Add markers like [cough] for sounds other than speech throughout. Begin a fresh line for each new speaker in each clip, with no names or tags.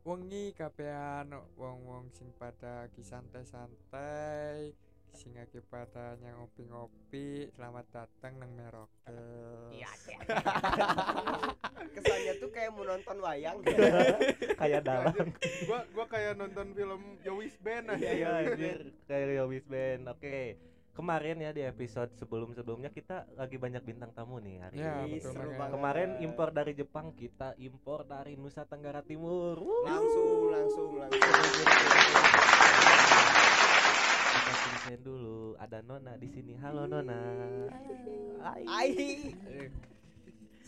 wengi kabehan wong-wong sing pada ki santai-santai sing lagi pada yang ngopi-ngopi selamat datang nang Merauke
Iya, iya.
kesannya tuh kayak mau nonton wayang
[laughs] kayak dalang
Anjir, gua gua kayak nonton film Yowis Band aja.
iya iya anjir kayak Rio Band oke kemarin ya di episode sebelum sebelumnya kita lagi banyak bintang tamu nih hari
Ya,
Ih,
ini
betul
seru
banget.
Iya, banget.
kemarin impor dari Jepang kita impor dari Nusa Tenggara Timur Wuh.
langsung langsung langsung
kita present dulu ada Nona di sini halo Nona Hai.
Ai.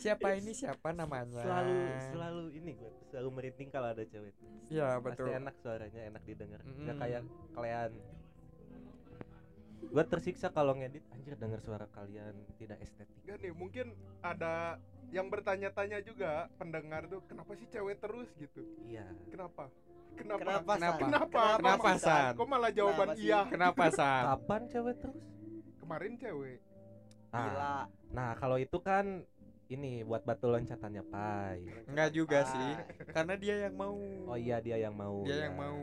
siapa ini siapa namanya
selalu selalu ini gue selalu merinding kalau ada cewek
ya
pasti
betul
enak suaranya enak didengar nggak
Mm.
kayak kalian gue tersiksa kalau ngedit anjir dengar suara kalian tidak estetik
Gak nih, mungkin ada yang bertanya-tanya juga pendengar tuh kenapa sih cewek terus gitu?
iya
Kenapa? Kenapa?
kenapa
Kenapa?
San?
Kenapa?
Kenapa,
sih,
San?
Kok malah jawaban
Kenapa sih?
iya?
kenapa
[laughs]
San
kapan cewek terus
Kemarin cewek.
ah,
gila
nah kalau itu kan ini buat batu loncatannya pai
Enggak juga
Ah,
sih, karena dia yang mau.
oh iya dia yang mau
Dia
ya.
yang mau.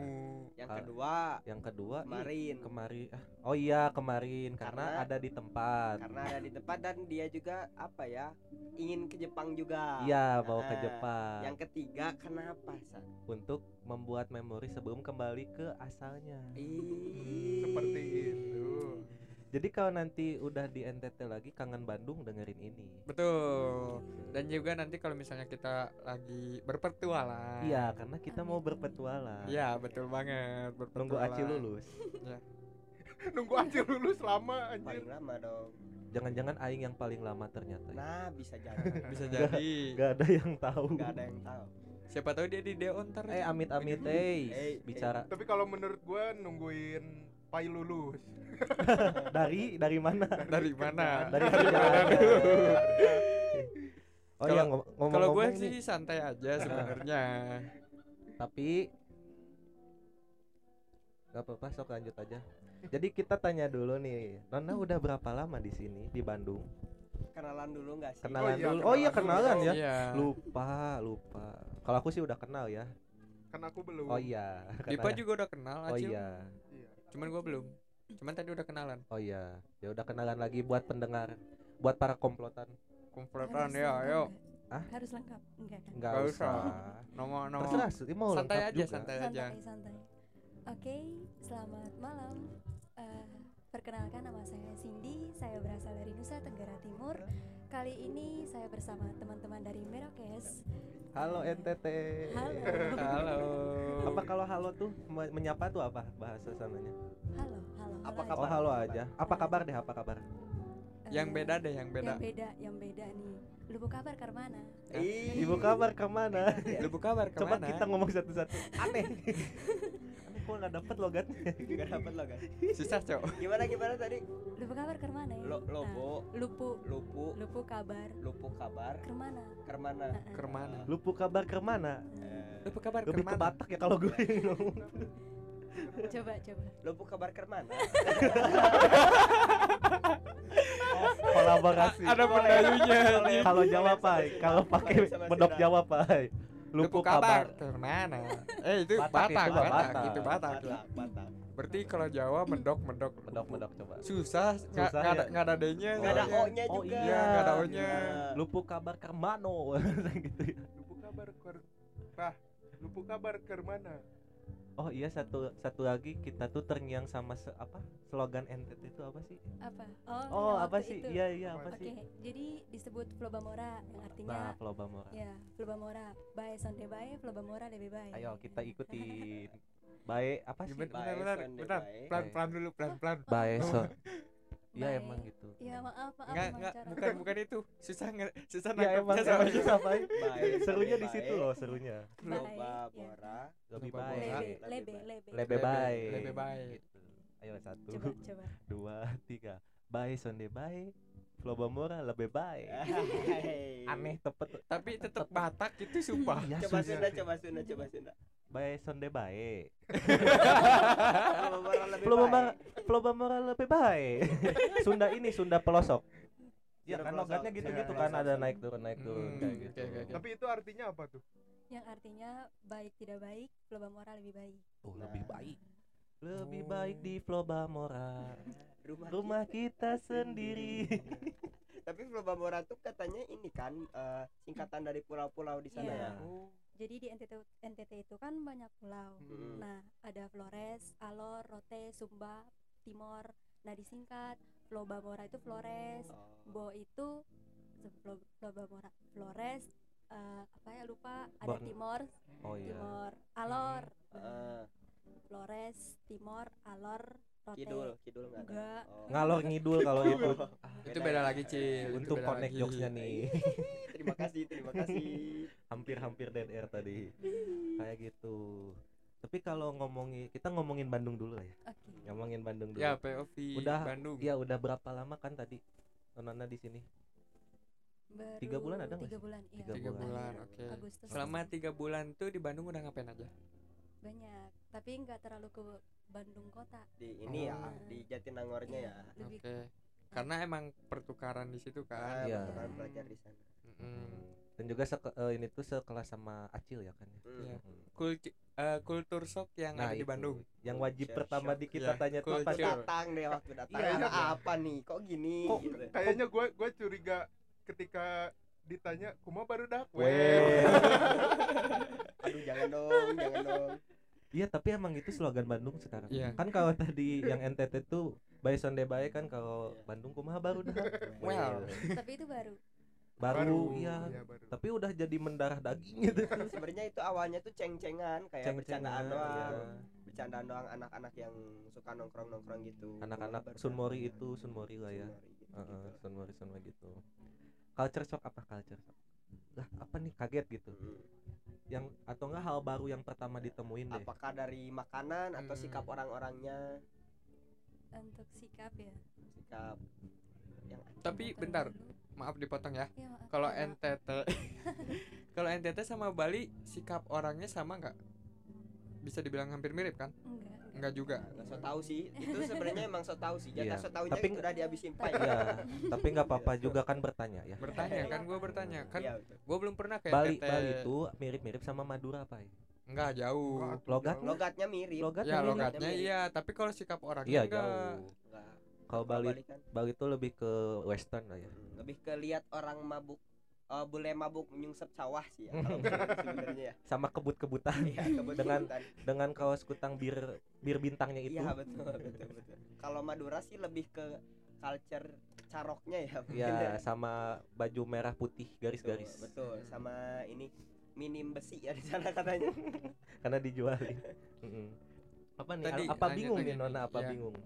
yang
Ah.
kedua
yang kedua kemarin
kemarin
kemarin ah, oh iya kemarin karena,
Karena-
ada di tempat
karena ada di tempat dan dia juga apa ya ingin ke Jepang juga
iya bawa ke
Ah,
Jepang
yang ketiga kenapa San?
untuk membuat memori sebelum kembali ke asalnya
Ih.
Seperti itu.
Jadi kalau nanti udah di NTT lagi kangen Bandung dengerin ini.
Betul. Dan juga nanti kalau misalnya kita lagi berpetualang.
Iya, karena kita mau
Amin.
berpetualang.
Iya, betul banget. Berpetualang.
Nunggu Aci lulus.
Nunggu anjir lulus lama anjir.
paling lama dong
Jangan-jangan aing yang paling lama ternyata. ya.
nah bisa
[laughs]
jadi
Bisa jadi.
Nggak ada yang tahu.
nggak ada yang tahu
Siapa tahu dia di Deon ntar.
Eh amit-amit
Eh,
eh
eh.
bicara
Tapi kalau menurut gua nungguin pai lulus.
dari dari mana?
dari mana?
Dari kerjaan. Oh
Kalau-
iya ngom- ngomong
Kalau gue sih santai aja
[laughs] Ah.
sebenarnya.
tapi nggak apa-apa sok lanjut aja. Jadi kita tanya dulu nih, Nona udah berapa lama di sini di Bandung?
kenalan dulu nggak sih
Kenalan
iya,
dulu. Oh iya
kenalan
kenalan
dulu.
ya.
Iya.
lupa lupa kalau aku sih udah kenal ya
Kan aku belum.
oh iya
Dipa
katanya.
juga udah kenal
oh
Acil.
iya
Iya.
Cuman gue belum. Cuman tadi udah kenalan.
oh iya ya udah kenalan lagi buat pendengar buat para komplotan
Komplotan
Harus
ya,
lengkap
ayo.
nggak?
Hah?
Harus lengkap enggak kan?
nggak
Nggak
usah
usah. Nomor nomor.
terserah sih mau
Santai
lengkap
aja,
juga.
santai aja.
Santai, santai. Oke, selamat malam. Eh, perkenalkan nama saya Cindy, saya berasal dari Nusa Tenggara Timur. Kali ini saya bersama teman-teman dari Merokes. Eh,
halo NTT
Halo.
Halo.
apa kalau halo tuh me- menyapa tuh apa bahasa sananya
Halo, halo.
Apa
oh
aja.
Kabar,
halo
kabar.
aja apa kabar deh apa kabar
Eh,
Yang beda deh, yang beda.
Yang beda, yang beda nih. Lu mau kabar ke mana?
Ih.
Iya.
Iya,
ibu Nah? kabar kemana
Lu buka kabar
Iya. coba
kemana?
kita ngomong satu-satu aneh aneh kok nggak dapet logatnya
nggak dapat lo guys
Susah,
[laughs]
Cok.
gimana gimana tadi
Lu mau kabar ke mana ya?
lo lobo
Ah, lupu,
lupu
lupu kabar
lupu kabar
ke mana?
kermana
Ah, ah.
Kermana.
lupa kabar kemana
Eh,
Lu kabar
lebih ke
kemana?
Batak ya kalau gue ngomong
Coba, coba.
lupu kabar kermana
kolaborasi
Ada pendayunya. anjing.
kalau Jawa pai kalau pakai
Sama si
bedok
Dra.
Jawa pai
Lu
lupa
kabar
kabar [laughs]
kemana? Eh itu
Batak,
Batak, Batak,
itu mah Batak. Hmm.
itu Batak.
batak batak
Berarti kalau Jawa medok medok.
bedok bedok coba
Susah, nggak
Susah
nggak ada
ya?
nggak ada D-nya.
nggak ada o
soalnya.
nya
Oh
juga
iya, nggak ada
O-nya.
Iya.
lupa kabar kermano gitu ya
Lupu kabar ker Bah, lupu kabar ker mana?
[laughs] oh iya satu satu lagi kita tuh terngiang sama se- apa slogan NTT itu apa sih
Apa?
oh
Oh, yang
apa
waktu
sih
itu.
iya iya
Apa
apa
Oke,
sih
jadi disebut Flobamora yang artinya
nah Pelobamora
ya Flobamora, bae sonde bae, Gitu. Flobamora lebih baik.
ayo kita
[laughs]
ikutin baik apa sih
Gimana?
Bae,
bentar,
sonde,
bentar.
bae.
Pelan pelan dulu pelan pelan.
baik
Oh,
so iya
Baik.
emang gitu
Ya maaf, maaf
Enggak
emang
enggak
cara-
bukan bukan itu. Susah nggak susah
ya emang
nangkepnya
emang
soalnya.
susah [laughs] Pai.
Bae,
serunya di
bae,
situ loh serunya
Bae,
loba
ya.
bora
lebih
Coba
baik
Bora.
Lebe, lebe, lebe.
lebih baik
Lebih baik.
ayo satu
Coba, coba.
[laughs] dua tiga bye sonde bye flobamora lebih baik
Hei.
[laughs] Iya. aneh tepet
Tapi tetap Batak itu sumpah.
ya
coba
susah
sunda coba sunda coba
[laughs]
sunda
bye sonde bye
loba bora lebih
flobamora
baik.
flobamora lebih baik [laughs] sunda ini sunda pelosok ya
Sunda
kan
pelosok,
logatnya gitu gitu
Sunda
kan
pelosok.
ada naik turun naik turun
Iya, Hmm,
kayak
oke,
gitu
oke, oke.
Tapi itu artinya apa tuh?
yang artinya baik tidak baik, lomba moral lebih baik.
Oh,
Nah.
lebih baik. Lebih
Oh.
baik di Floba Mora.
rumah,
Rumah kita sendiri.
[laughs] tapi Pulau Mora tuh katanya ini kan eh, singkatan dari pulau-pulau di sana
Iya.
ya
Oh.
Jadi di NTT, ut- NTT itu kan banyak pulau.
Hmm.
Mm.
Nah, ada Flores, Alor, Rote, Sumba, Timor. Nah, disingkat Loba Mora itu Flores,
Oh.
Bo itu Flo- Loba Mora, Flores, eh, apa ya lupa, ada
Born-
Timor,
Oh iya. Hmm.
Timor, Alor,
Eh,
Flores, Timor, Alor, Rote.
kidul kidul nggak ada
Enggak.
Oh. [laughs] ya.
Ngalor ngidul kalau Gitu. itu.
itu beda lagi cil itu
Untung
beda
connect
lagi.
jokesnya nih.
terima kasih terima kasih
Hampir-hampir dead air tadi.
Iya.
Kayak gitu. Tapi kalau ngomongin kita ngomongin Bandung dulu lah ya.
Oke.
Ngomongin Bandung dulu.
ya POV
Udah,
Bandung
Iya, udah berapa lama kan tadi Nona di sini? Tiga
Baru
bulan ada nggak
Tiga
sih?
bulan, iya.
Tiga
tiga
bulan.
bulan
Iya.
oke
Agustus.
selama tiga bulan tuh di Bandung udah ngapain aja
banyak, tapi nggak terlalu ke Bandung kota.
di ini ya
Oh.
di Jatinangornya
Iya,
ya
oke
Lebih
karena emang pertukaran di situ kan
Ah,
Iya.
pertukaran pelajar di sana
Mm-mm.
Hmm. Dan juga seke- eh, ini tuh sekelas sama Acil ya kan ya.
Hmm.
Iya.
Hmm.
Kulti- eh, kultur shock yang ada di
Nah, itu.
Bandung
Yang wajib
Culture
pertama
shock.
di kita
Iya,
tanya tuh apa
Waktu
sih?
culture.
datang deh waktu datang
Iya,
ada
iya.
apa nih kok gini
Kok
gitu.
kayaknya gue gue curiga ketika ditanya kuma baru dak
Weh.
aduh jangan dong jangan dong
Iya, tapi emang itu slogan Bandung sekarang.
Iya.
Kan kalau tadi yang NTT tuh by Sunday Bae kan kalau
Iya.
Bandung kumaha baru dah.
Well.
[laughs] Tapi itu baru.
baru, iya.
Iya, baru.
Tapi udah jadi mendarah daging gitu.
sebenarnya itu awalnya tuh ceng-cengan kayak bercandaan doang gitu.
iya.
bercandaan doang anak-anak yang suka nongkrong-nongkrong gitu
Anak-anak
Baru
Sunmori
datang.
itu, Sunmori lah ya.
Sunmori gitu,
Heeh,
gitu.
Sun Morrison lah gitu. Culture shock apa culture shock? Lah, apa nih kaget gitu.
Mm.
Yang atau enggak hal baru yang pertama ditemuin deh.
apakah dari makanan atau
Mm.
sikap orang-orangnya
Untuk sikap ya.
sikap yang
tapi
Ntar
bentar
dulu.
maaf dipotong ya
Ya, maaf,
kalau
ya, maaf.
NTT [laughs] kalau NTT sama Bali sikap orangnya sama nggak bisa dibilang hampir mirip kan
Enggak, enggak.
nggak juga
nggak so tau sih itu sebenarnya emang so tau sih jatah
Iya.
so taunya
Tapi
udah dihabisin pai
kan
Iya, tapi nggak
[laughs]
apa-apa juga kan bertanya ya.
bertanya kan gue bertanya kan
Iya, betul.
gue belum pernah kayak
Bali
NTT
Bali itu mirip-mirip sama Madura apa ya?
nggak jauh
kan
Logat.
logatnya mirip
Logatnya
ya
mirip.
logatnya
mirip.
iya tapi kalau sikap orangnya
Kan Iya
nggak.
jauh.
Nggak,
Kalau Bali
kan
Bali itu lebih ke western lah ya.
Mm, lebih ke lihat orang mabuk eh bule mabuk menyungsep sawah sih ya,
[laughs]
kalau sebenarnya ya.
Sama kebut-kebutan
Iya, kebetulan.
dengan kaos kutang bir bir bintangnya itu.
Iya betul betul betul. Kalau Madura sih lebih ke culture caroknya ya. mungkin
Ya, sama baju merah putih
Betul,
garis-garis
Betul, sama ini minim besi ya di sana katanya.
karena dijualin. [laughs] Mm-mm. apa nih?
Tadi
apa
lanjut
bingung
lagi
nih
nih,
Nona? Apa
iya.
bingung?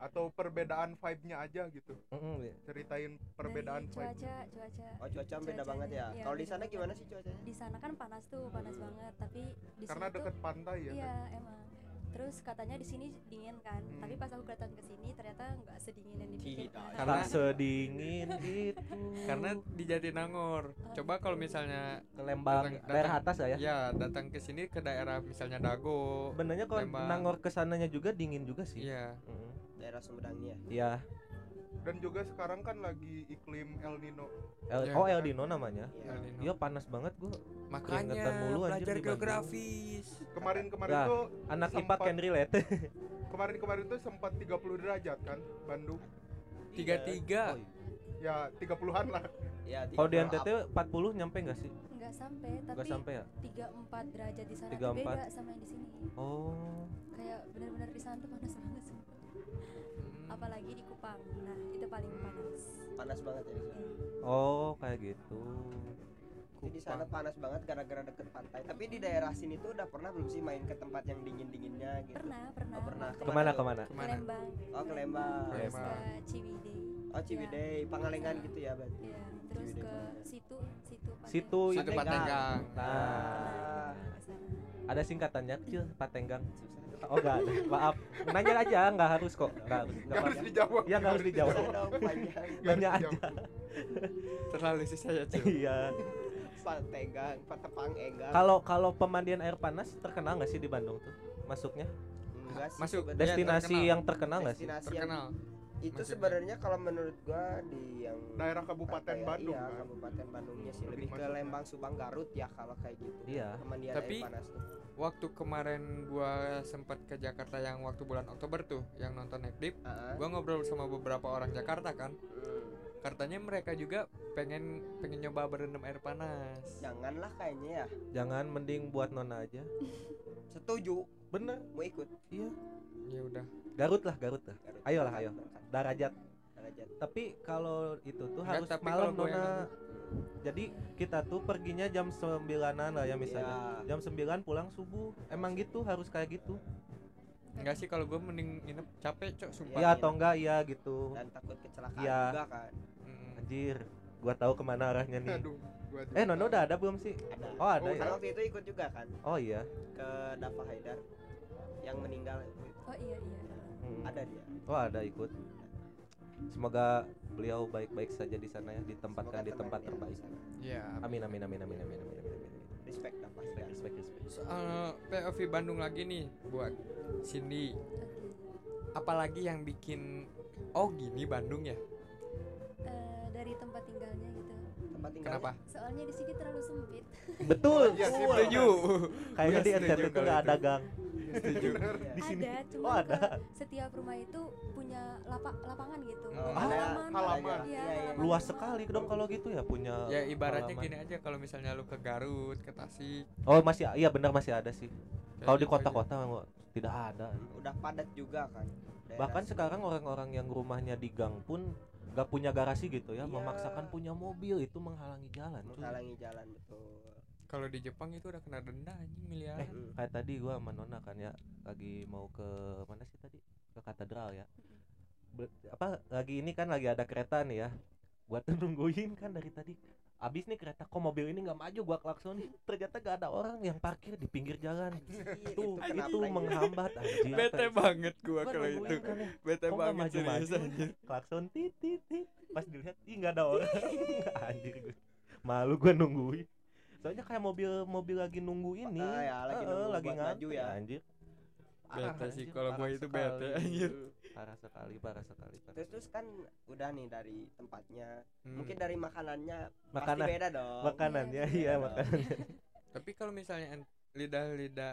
atau perbedaan vibe-nya aja gitu
Mm-mm, ya.
ceritain
Dari
perbedaan
cuaca, cuaca.
Oh cuaca beda
Cuacanya,
banget ya.
iya,
Kalau di
beda
sana
banget.
gimana sih cuacanya?
Di sana kan panas tuh, panas
Hmm.
banget, tapi di
karena
sini tuh
deket pantai ya
iya, emang. Terus katanya di sini dingin kan,
Hmm.
tapi pas aku datang ke sini ternyata nggak sedingin yang dipikirkan.
Karena-
Tak sedingin gitu. itu.
karena di Jatinangor coba kalau misalnya
ke Lembang
datang-
daerah
datang-
atas lah ya.
ya datang ke sini ke daerah misalnya Dago
Sebenarnya kalau
Lembang.
Nangor kesananya juga dingin juga sih.
iya
Mm-mm.
Daerah Sumedangnya. ya.
Iya.
dan juga sekarang kan lagi iklim El Nino
Iya.
El- Oh El Dino namanya.
El
Iya.
Nino.
Iya panas banget gua.
makanya
Keringetan mulu, anjir,
belajar
di Bandung.
geografis
kemarin kemarin
Lah.
tuh
Anak IPA
Sempat.
can relate.
kemarin kemarin tuh sempat 30 derajat kan Bandung
tiga tiga
Oh, iya.
ya 30-an lah
Iya, tiga
Kalau di
puluh
NTT
up.
40 nyampe nggak sih?
Nggak sampai, tapi
Nggak sampai ya?
34 derajat di sana tuh
34.
beda sama yang di sini.
Oh.
Kayak benar-benar di sana tuh panas banget. sumpah.
Hmm,
Apalagi di Kupang. Nah, itu paling panas.
panas banget ya di sana.
Oh, kayak gitu.
Itu di sana panas banget gara-gara deket pantai. Tapi di daerah sini tuh udah pernah belum sih main ke tempat yang dingin-dinginnya gitu?
Pernah, pernah.
Oh, pernah.
waktu
Kemana
tuh?
kemana?
ke
Kemana?
Lembang.
Oh, ke Lembang.
Iya.
Terus
Lembang.
ke Ciwidey.
Oh, Ciwidey, Pangalengan gitu ya, berarti.
Iya, terus
Ciwidey
ke
Pangalengan.
situ, situ Pantai.
Situ
Situ
Patenggang.
Patenggang.
Oh, iya, Nah,
Ah.
Ke sana.
ada singkatannya kecil Patenggang.
Susah.
Oh enggak, ada. maaf. Nanya aja nggak harus kok. Enggak harus.
nggak
Enggak
harus
apa-apa.
dijawab
Ya nggak harus dijawab. [laughs]
Susah dong, panjang.
Nggak
Nanya
harus
aja.
dijawab.
terlalu susah ya
[laughs]
Cil
Iya.
Pategang, Patepang Enggang.
Kalau kalau pemandian air panas terkenal nggak sih di Bandung tuh? Masuknya
enggak sih
Masuk.
sebenarnya.
Iya,
destinasi
terkenal.
yang terkenal nggak sih?
destinasi yang
terkenal
itu
Maksudnya?
sebenarnya kalau menurut gua di yang
Daerah Kabupaten
Pattaya,
Bandung
iya,
kan?
Kabupaten Bandungnya sih
Lebih
lebih, ke
masuknya.
Lembang Subang Garut ya kalau kayak gitu
Iya.
pemandian
Tapi-
air panas tuh.
Waktu kemarin gua sempat ke Jakarta yang waktu bulan Oktober tuh yang nonton Night Deep,
Ah,
gua ngobrol sama beberapa orang Jakarta kan.
hmm.
Katanya mereka juga pengen pengen nyoba berendam air panas.
janganlah kayaknya ya
jangan mending buat nona aja
setuju
bener
mau ikut
Ya udah.
Garut lah Garut lah
Garut.
Ayolah, ayo.
Berangkat.
darajat
Darajat.
tapi kalau itu tuh
Enggak,
harus
tapi
malam
kalau gue yang
nona jadi kita tuh perginya jam 9-an lah ya misalnya
Iya.
jam 9 pulang subuh emang gitu harus kayak gitu
Enggak
gitu.
sih kalau gua mending nginep capek, Cok, sumpah.
Iya atau enggak iya gitu
dan takut kecelakaan
Iya.
juga kan
Mm-mm.
anjir gua tahu kemana arahnya nih
aduh gua juga
eh Nono
tahu.
udah ada belum sih
ada
oh ada
Oh,
ya
Kan waktu itu ikut juga kan
oh iya
ke Dava Haidar yang meninggal itu
Oh iya iya.
Mm.
ada dia
Oh ada ikut. Semoga beliau baik-baik saja di sana ya,
Semoga
ditempatkan
ya.
di tempat
temannya
terbaik.
sana.
Iya.
Amin amin amin amin amin amin amin. amin.
respect kan. Dava
Respect,
Haidar
respect,
[laughs]
respect.
Soal POV Bandung lagi nih buat Cindy.
Oke.
Apalagi yang bikin oh gini Bandung ya?
Eh, dari tempat tinggalnya gitu.
tempat tinggal
Kenapa?
Soalnya di sini terlalu sempit.
Betul.
Iya sih,
betul.
Setuju. Iya,
Kayaknya di
setuju
NTT itu
kalau
nggak
itu.
ada gang.
Setuju.
iya.
Di sini.
Ada, cuma
Oh, ada.
ke- setiap rumah itu punya lapa- lapangan gitu.
Oh,
ada
Halaman.
halaman.
Iya,
Iya, iya.
halaman
Luas
rumah.
sekali dong kalau gitu ya punya.
Ya ibaratnya
halaman.
gini aja kalau misalnya lu ke Garut, ke Tasik.
Oh masih iya benar masih ada sih.
kayak
Kalau di
gitu aja.
kota-kota nggak- tidak ada.
udah padat juga kan daerah
Bahkan
sini.
sekarang orang-orang yang rumahnya di gang pun nggak punya garasi gitu ya,
Iya.
memaksakan punya mobil itu menghalangi jalan. cuy.
menghalangi jalan betul
Kalau di Jepang itu udah kena denda anjing miliaran.
Eh, kayak tadi gua sama Nona kan ya lagi mau ke mana sih tadi ke katedral ya Be- apa lagi ini kan lagi ada kereta nih ya gua tuh nungguin kan dari tadi abis nih kereta kok mobil ini nggak maju gua klaksonin ternyata gak ada orang yang parkir di pinggir jalan
Iya,
tuh
kenapa
itu
ini?
menghambat anjing ya?
Bete banget
Gua
gua kalau itu.
nungguin kan ya,
Bete
kok nggak
banget
gitu
maju
serius
maju
anjir.
[laughs] klakson tit tit tit pas dilihat ih nggak ada orang [laughs] anjir gua malu gua nungguin soalnya kayak mobil mobil lagi nunggu ini
Ah, ya, lagi
Heeh,
nunggu
lagi
buat maju
ngantri,
ya.
anjir Parah,
Bete sih
anjir,
kalau gua
parah
itu bete
sekali.
anjir.
parah sekali parah sekali parah
terus
sekali.
terus kan udah nih dari tempatnya
Hmm.
mungkin dari makanannya
makanan
pasti beda dong
makanannya
Iya,
iya
beda.
makanan
Tapi kalau misalnya en- lidah-lidah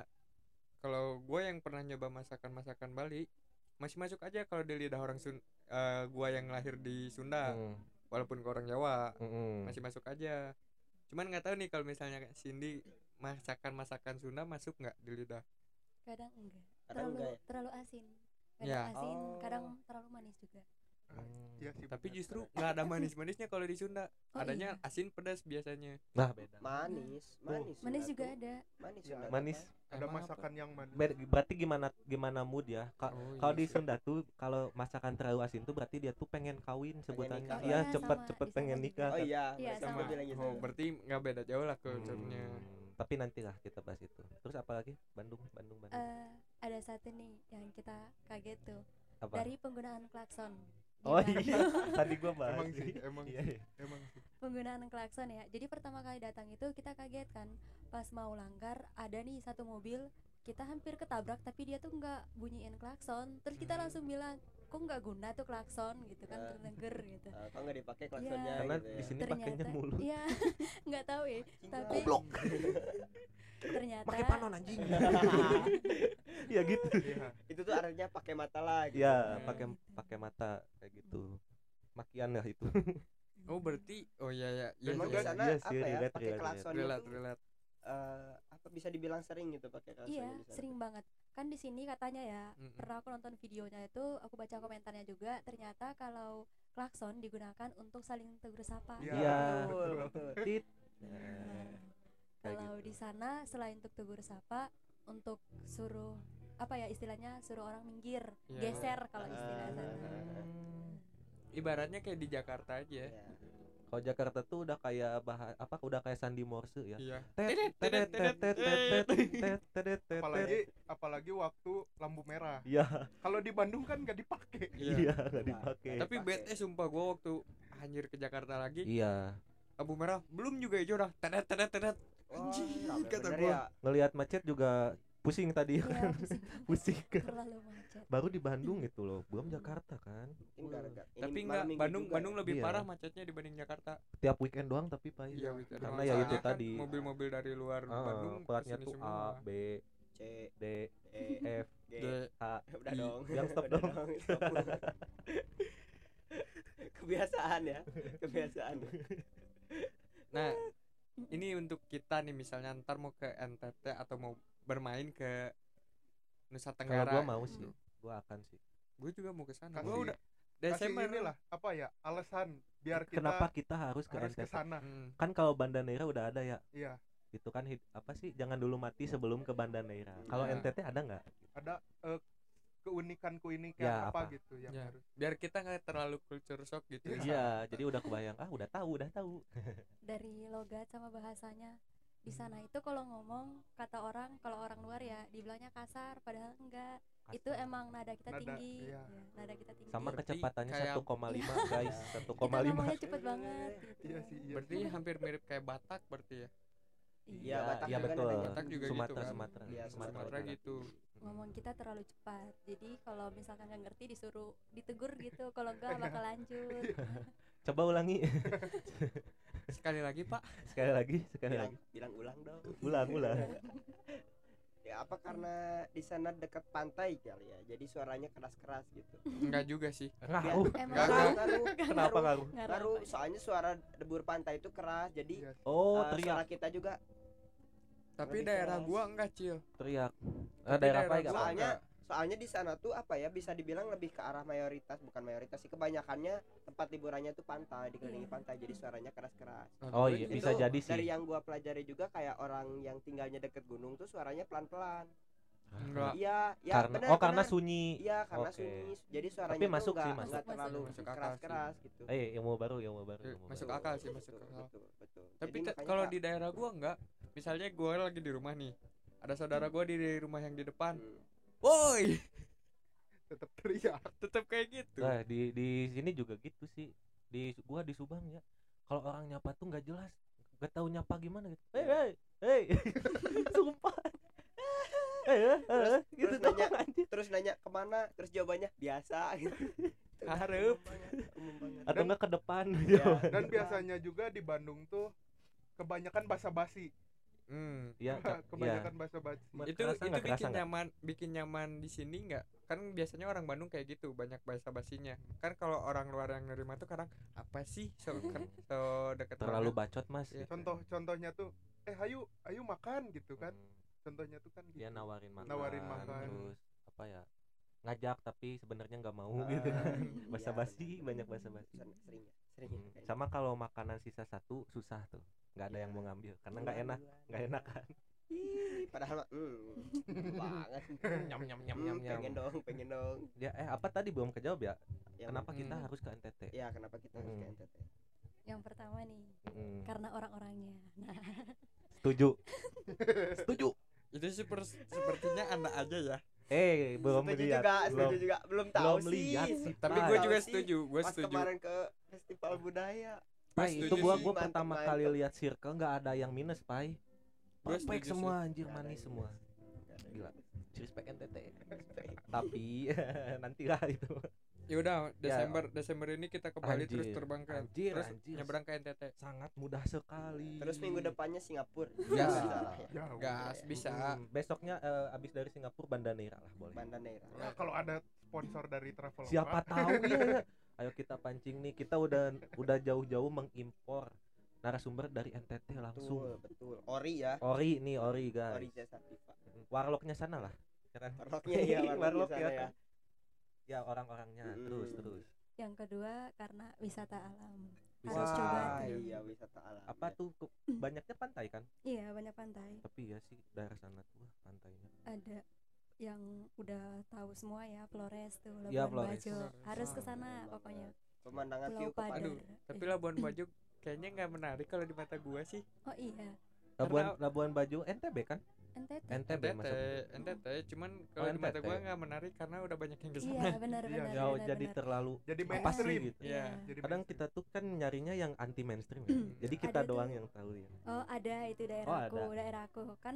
kalau gua yang pernah nyoba masakan-masakan Bali masih masuk aja kalau di lidah orang Sun eh, gua yang lahir di Sunda
[laughs] Hmm,
walaupun ke orang Jawa
hmm, hmm.
masih masuk aja. Cuman nggak tahu nih kalau misalnya kayak Cindy masakan-masakan Sunda masuk nggak di lidah.
Kadang enggak.
Kadang
Terlalu
enggak ya?
terlalu asin. Kadang
Iya.
Ya.
asin,
Oh.
kadang terlalu manis juga.
Iya sih,
Tapi
bener.
justru nggak ada manis-manisnya kalau di Sunda.
Oh,
Adanya
iya.
asin pedas biasanya.
nah beda
manis manis
manis
Sunda
juga
tuh.
ada.
manis
Iya,
Sunda
Oh. manis
tuh.
ada
Emang apa?
masakan yang manis
Beda- berarti gimana gimana mood ya Ka-
Oh,
kalau
iya
di
sih.
Sunda tuh kalau masakan terlalu asin tuh berarti dia tuh pengen kawin sebutannya
nikah.
iya
Iya,
cepet
sama.
cepet
Di sana
pengen
juga.
nikah
oh iya
Iya,
mereka
sama.
bilang gitu
Oh, berarti nggak beda jauh
Hmm.
lah kulturnya.
Hmm, tapi nantilah kita bahas itu terus apa lagi Bandung Bandung Bandung
Eh, ada satu nih yang kita kaget tuh
apa
dari penggunaan klakson. Di
oh
Bandung. [laughs]
iya tadi gua bahas
emang sih
nih.
emang
Iya, iya.
emang sih
penggunaan klakson ya. Jadi pertama kali datang itu kita kaget kan. Pas mau langgar ada nih satu mobil kita hampir ketabrak tapi dia tuh nggak bunyiin klakson. Terus kita
Hmm.
langsung bilang kok nggak guna tuh klakson gitu kan
Eh.
terdengar gitu.
Eh, kok nggak dipakai klaksonnya
karena
gitu
Ya. di
ya.
sini pakainya
Ternyata
mulu
iya [laughs] nggak tahu ya.
Cina.
tapi-
Goblok.
Ternyata
pakai panon
[laughs]
anjing ya gitu
Iya.
itu tuh artinya pakai mata lah gitu.
ya
Hmm.
pakai pakai mata kayak gitu makian lah itu
[laughs]
Oh, berarti oh iya ya iya.
Memang
iya,
di
iya,
sana
iya sih,
apa ya
relate,
pakai
relate,
klakson
Relate,
itu
relate.
eh, apa bisa dibilang sering gitu pakai klakson
Iya,
di sana?
sering banget. Kan di sini katanya ya,
Mm-mm.
pernah aku nonton videonya itu, aku baca komentarnya juga, ternyata kalau klakson digunakan untuk saling tegur sapa.
Iya.
Iya.
Betul, betul.
tit
Nah,
kayak
kalau
gitu.
di sana selain untuk tegur sapa, untuk suruh apa ya istilahnya suruh orang minggir,
Iya.
geser kalau
Ah.
istilah sana.
Iya
Eh, Ibaratnya kayak di Jakarta aja.
Iya.
kalau Jakarta tuh udah kayak bahas apa udah kayak sandi morse ya
Iya.
Tet, tet, tet, tet, tet, tet, tet, tet, tet,
apalagi
tet.
apalagi waktu lampu merah
Iya,
kalau di Bandung kan nggak dipakai
Iya.
iya nggak dipakai
Tapi
Pakai.
bete sumpah gua waktu anjir ke Jakarta lagi,
iya
abu merah belum juga hijau dah. Tenet tenet tenet.
Wah,
Anjing,
rame
kata
Oh, bener
gua.
ya.
ngelihat macet juga pusing tadi ya kan
ya
[laughs]
pusing
pusing
banget, terlalu macet
[laughs] baru di Bandung gitu loh belum Jakarta kan
Ini gara-gara- ini
tapi
malam
enggak
minggu
Bandung
juga
Bandung
ya.
lebih
Iya.
parah macetnya dibanding Jakarta
tiap weekend doang tapi pak
iya weekend
karena
doang.
ya itu
Soalnya kan
tadi.
mobil-mobil dari luar
Ah,
Bandung
platnya
kesini
tuh ah.
semua.
A B
C
D
E
F
G
Ge-
[laughs] udah
I.
dong
Yang
[laughs]
stop
Udah
dong.
stop. [laughs] kebiasaan ya kebiasaan
nah ini untuk kita nih misalnya ntar mau ke NTT atau mau bermain ke Nusa
kalau
Tenggara
gua mau sih gua akan sih
gue juga mau ke sana
Kasih-
gue udah
kasih
Desember
inilah apa ya alasan biar kita
kenapa kita harus ke
harus ke
NTT
sana
Hmm.
kan kalau Bandanera udah ada ya
iya
itu kan hid- apa sih jangan dulu mati sebelum ke Bandanera kalau
Iya.
NTT ada nggak
ada eh, keunikan keunikan
Ya,
apa,
apa?
gitu yang
Ya.
harus
biar kita nggak terlalu culture shock gitu ya.
iya jadi udah kebayang ah udah tahu udah tahu
dari logat sama bahasanya di sana
Hmm.
itu kalau ngomong kata orang kalau orang luar ya dibilangnya kasar padahal enggak itu
Asal.
emang nada kita
Nada,
tinggi
iya.
ya, nada kita tinggi
sama
Berarti
kecepatannya
kayak-
1,5 guys
Iya.
1,5
kita ngomongnya cepet banget gitu
iya sih iya
berarti ya.
sih.
hampir mirip kayak Batak berarti ya
Iya, Batak
iya
juga
betul.
nadanya.
Batak juga gitu
Sumatera,
kan.
Sumatera,
Iya,
Sumatera,
Utara.
gitu
ngomong kita terlalu cepat jadi kalau misalkan nggak ngerti disuruh ditegur gitu kalau enggak bakal lanjut
Coba ulangi [laughs]
sekali lagi pak
sekali lagi, sekali
bilang
lagi.
bilang ulang dong
Ulang, ulang.
ya apa karena di sana dekat pantai kali ya jadi suaranya keras-keras gitu
nggak juga sih
Ngaruh.
emang
Nggak,
Ngaruh,
nggak.
ngaruh,
[laughs]
Kenapa ngaruh?
ngaruh
ngaruh
apa ya?
soalnya suara debur pantai itu keras jadi
Iya.
Oh,
eh, suara
teriak,
kita juga
tapi
Lebih
daerah
keras.
gua enggak cil
teriak. Eh,
Tapi
daerah apa ya?
daerah
nggak
gua
apa-apa.
Soalnya-
enggak.
soalnya di sana tuh apa ya bisa dibilang lebih ke arah mayoritas bukan mayoritas sih kebanyakannya tempat liburannya tuh pantai dikelilingi
Iya.
Hmm.
pantai jadi suaranya keras-keras
Nah,
Oh
gua
iya,
gitu.
bisa
Itu
jadi
dari
sih.
yang gua pelajari juga kayak orang yang tinggalnya deket gunung tuh suaranya pelan-pelan
enggak
iya ya
Ah, karena
benar,
oh karena
benar.
sunyi.
iya karena
Oke.
sunyi jadi suaranya tuh
masuk sih,
nggak-
masuk.
nggak
Masuk,
terlalu
masuk akal sih.
keras-keras gitu
Eh, ilmu baru, ilmu baru.
Eh,
ilmu
masuk
baru.
akal sih, masuk akal.
betul, betul.
tapi
Jadi
te-
makanya
kalau
Kak,
di daerah gua enggak misalnya gua lagi di rumah nih ada saudara gua di di rumah yang di depan
hmm,
woi
tetap teriak
tetap kayak gitu
Nah, di di sini juga gitu sih. Di gua di Subang ya. Kalau orang nyapa tuh nggak jelas, nggak tahu nyapa gimana gitu. Hei, hei, hei. [laughs] Sumpah. Eh, eh, eh,
terus
gitu
nanya-
doang, anjir.
terus nanya kemana terus jawabannya biasa [laughs] gitu
harap
Umum banget.
atau
Dan-
enggak ke depan
Ya,
dan
gitu.
biasanya juga di Bandung tuh kebanyakan basa-basi
hmm.
[laughs] ya
[laughs] kebanyakan basa-basi
itu itu bikin nyaman bikin nyaman di sini nggak kan biasanya orang Bandung kayak gitu banyak bahasa basinya kan kalau orang luar yang nerima tuh kadang apa sih so, ke- so deket
ya, terlalu
banget."
bacot mas
Iya.
contoh-contohnya tuh eh ayo ayo makan gitu kan
Hmm.
contohnya tuh kan gitu
Ya,
dia nawarin makan
Nawarin makan.
terus apa ya ngajak tapi sebenarnya nggak mau
Ah, [laughs]
gitu kan
iya,
[laughs] basa-basi
benar.
banyak basa-basi
Sen- sering ya sering ya,
Hmm.
kayaknya.
sama kalau makanan sisa satu susah tuh nggak ada yang
Iya.
mau ngambil karena nggak enak nggak enak kan
Ih, padahal hmm,
[laughs]
banget
[laughs] nyam nyam nyam
Hmm,
nyam nyam
pengen dong pengen dong
ya eh apa tadi belum kejawab ya
Yang-
kenapa kita
Hmm.
harus ke NTT
ya kenapa kita harus ke
Hmm.
NTT
yang pertama nih
Mm,
karena orang-orangnya nah
[laughs]
setuju setuju
itu sih per- sepertinya anda aja ya
eh belum
setuju juga
lihat belum
setuju juga belum tahu
belum
sih
lihat sih
tapi
Pak.
gue
Tahu
juga
sih,
setuju gue
pas
setuju
kemarin ke festival budaya
Gue
Pai, itu
setuju
gua
sih.
gua
Mantep,
pertama
mantep.
kali lihat circle nggak ada yang minus, Pai.
Gua
Perfect
setuju
semua anjir
Nggak ada
manis
yang
semua.
Nggak ada yang
Gila.
minus.
Respect NTT. Tapi [laughs] nantilah itu.
ya udah Desember Desember ini kita ke Bali terus
Anjir,
terbang ke
anjir,
terus
anjir.
nyebrang ke NTT
Sangat mudah sekali.
terus minggu depannya Singapura
Ya.
Nggak salah ya
ya
gas bisa
Mm, besoknya eh, abis dari Singapura Bandanera lah boleh.
Bandanera
Nah, kalau ada sponsor dari Traveloka
Siapa tahu
[laughs]
ya. Ayo kita pancing nih. Kita udah udah jauh-jauh mengimpor narasumber dari
betul
NTT langsung.
betul ori ya
Ori nih, ori guys.
ori jasa pipa
Warlocknya sana lah. Keren.
warlocknya ya warlock
[laughs] Warlock
sana
ya
ya
kan. Ya orang-orangnya terus
Mm.
terus.
yang kedua karena wisata alam
Bisa
harus
sih.
coba
Wah,
tuh.
iya wisata alam
apa tuh ke- banyaknya pantai kan
iya banyak pantai
tapi ya sih daerah sana tuh wah, pantainya
ada yang udah tahu semua ya Flores tuh Labuan
Ya, Flores.
Bajo
Iya, Flores.
harus ke
Ah,
sana
bener
pokoknya
pemandangan
Pulau
view ke
Padar
Padang
Aduh, tapi Labuan Bajo kayaknya nggak menarik kalau di mata gue sih
oh iya
Labuan Labuan Bajo NTB kan
NTT
NTB
NTT
masuk
NTT cuman
Oh,
kalau di mata
NTT.
gue nggak menarik karena udah banyak yang kesana
iya benar
Iya,
benar
ya
benar,
jadi
benar.
terlalu
jadi
apa sih
mainstream
gitu
Iya.
jadi
kadang
mainstream.
kita tuh kan nyarinya yang anti mainstream ya. jadi kita
Ada
doang
tuh.
yang tahu ya
oh ada itu daerahku
ada.
daerahku kan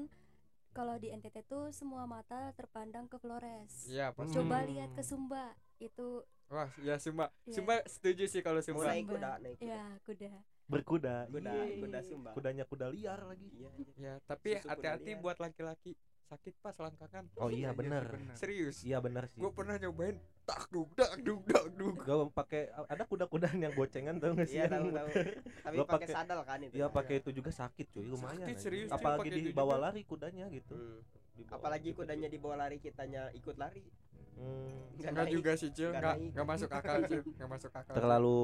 kalau di NTT tuh semua mata terpandang ke Flores.
[laughs] Iya pasti.
Coba
Hmm.
lihat ke Sumba. Itu
Wah, ya Sumba.
Iya.
Sumba setuju sih kalau
mau
Sumba.
naik kuda naik kuda
ya
Iya.
kuda.
berkuda
kuda,
Yeay.
kuda Sumba.
kudanya kuda liar lagi
Iya, iya.
Ya, tapi
Susu kuda
hati-hati
liar.
buat laki-laki. Sakit pas langkangan. Nah,
oh iya
Iya,
bener
bener.
Serius.
iya bener sih
Gue pernah nyobain tak duk dak duk dak duk.
gua pakai ada kuda-kudaan yang bocengan tau gak sih
Iya,
yang
tahu
muter.
tahu. Tapi
Gua
pakai
pakai-
sadel kan itu.
[laughs] Iya
kan?
pakai itu juga sakit cuy
Sakit,
lumayan. anjing.
serius, cuy,
Apalagi
pakai Hmm. itu
dibawa
juga.
lari kudanya gitu. Dibawa
Apalagi
gitu,
kudanya
cuy.
dibawa lari kitanya ikut lari.
Hmm,
[laughs] Nggak
Enggak
naik.
juga sih, Cil.
Nggak
Enggak
naik.
enggak masuk akal, Cil. Enggak masuk akal. Cil.
terlalu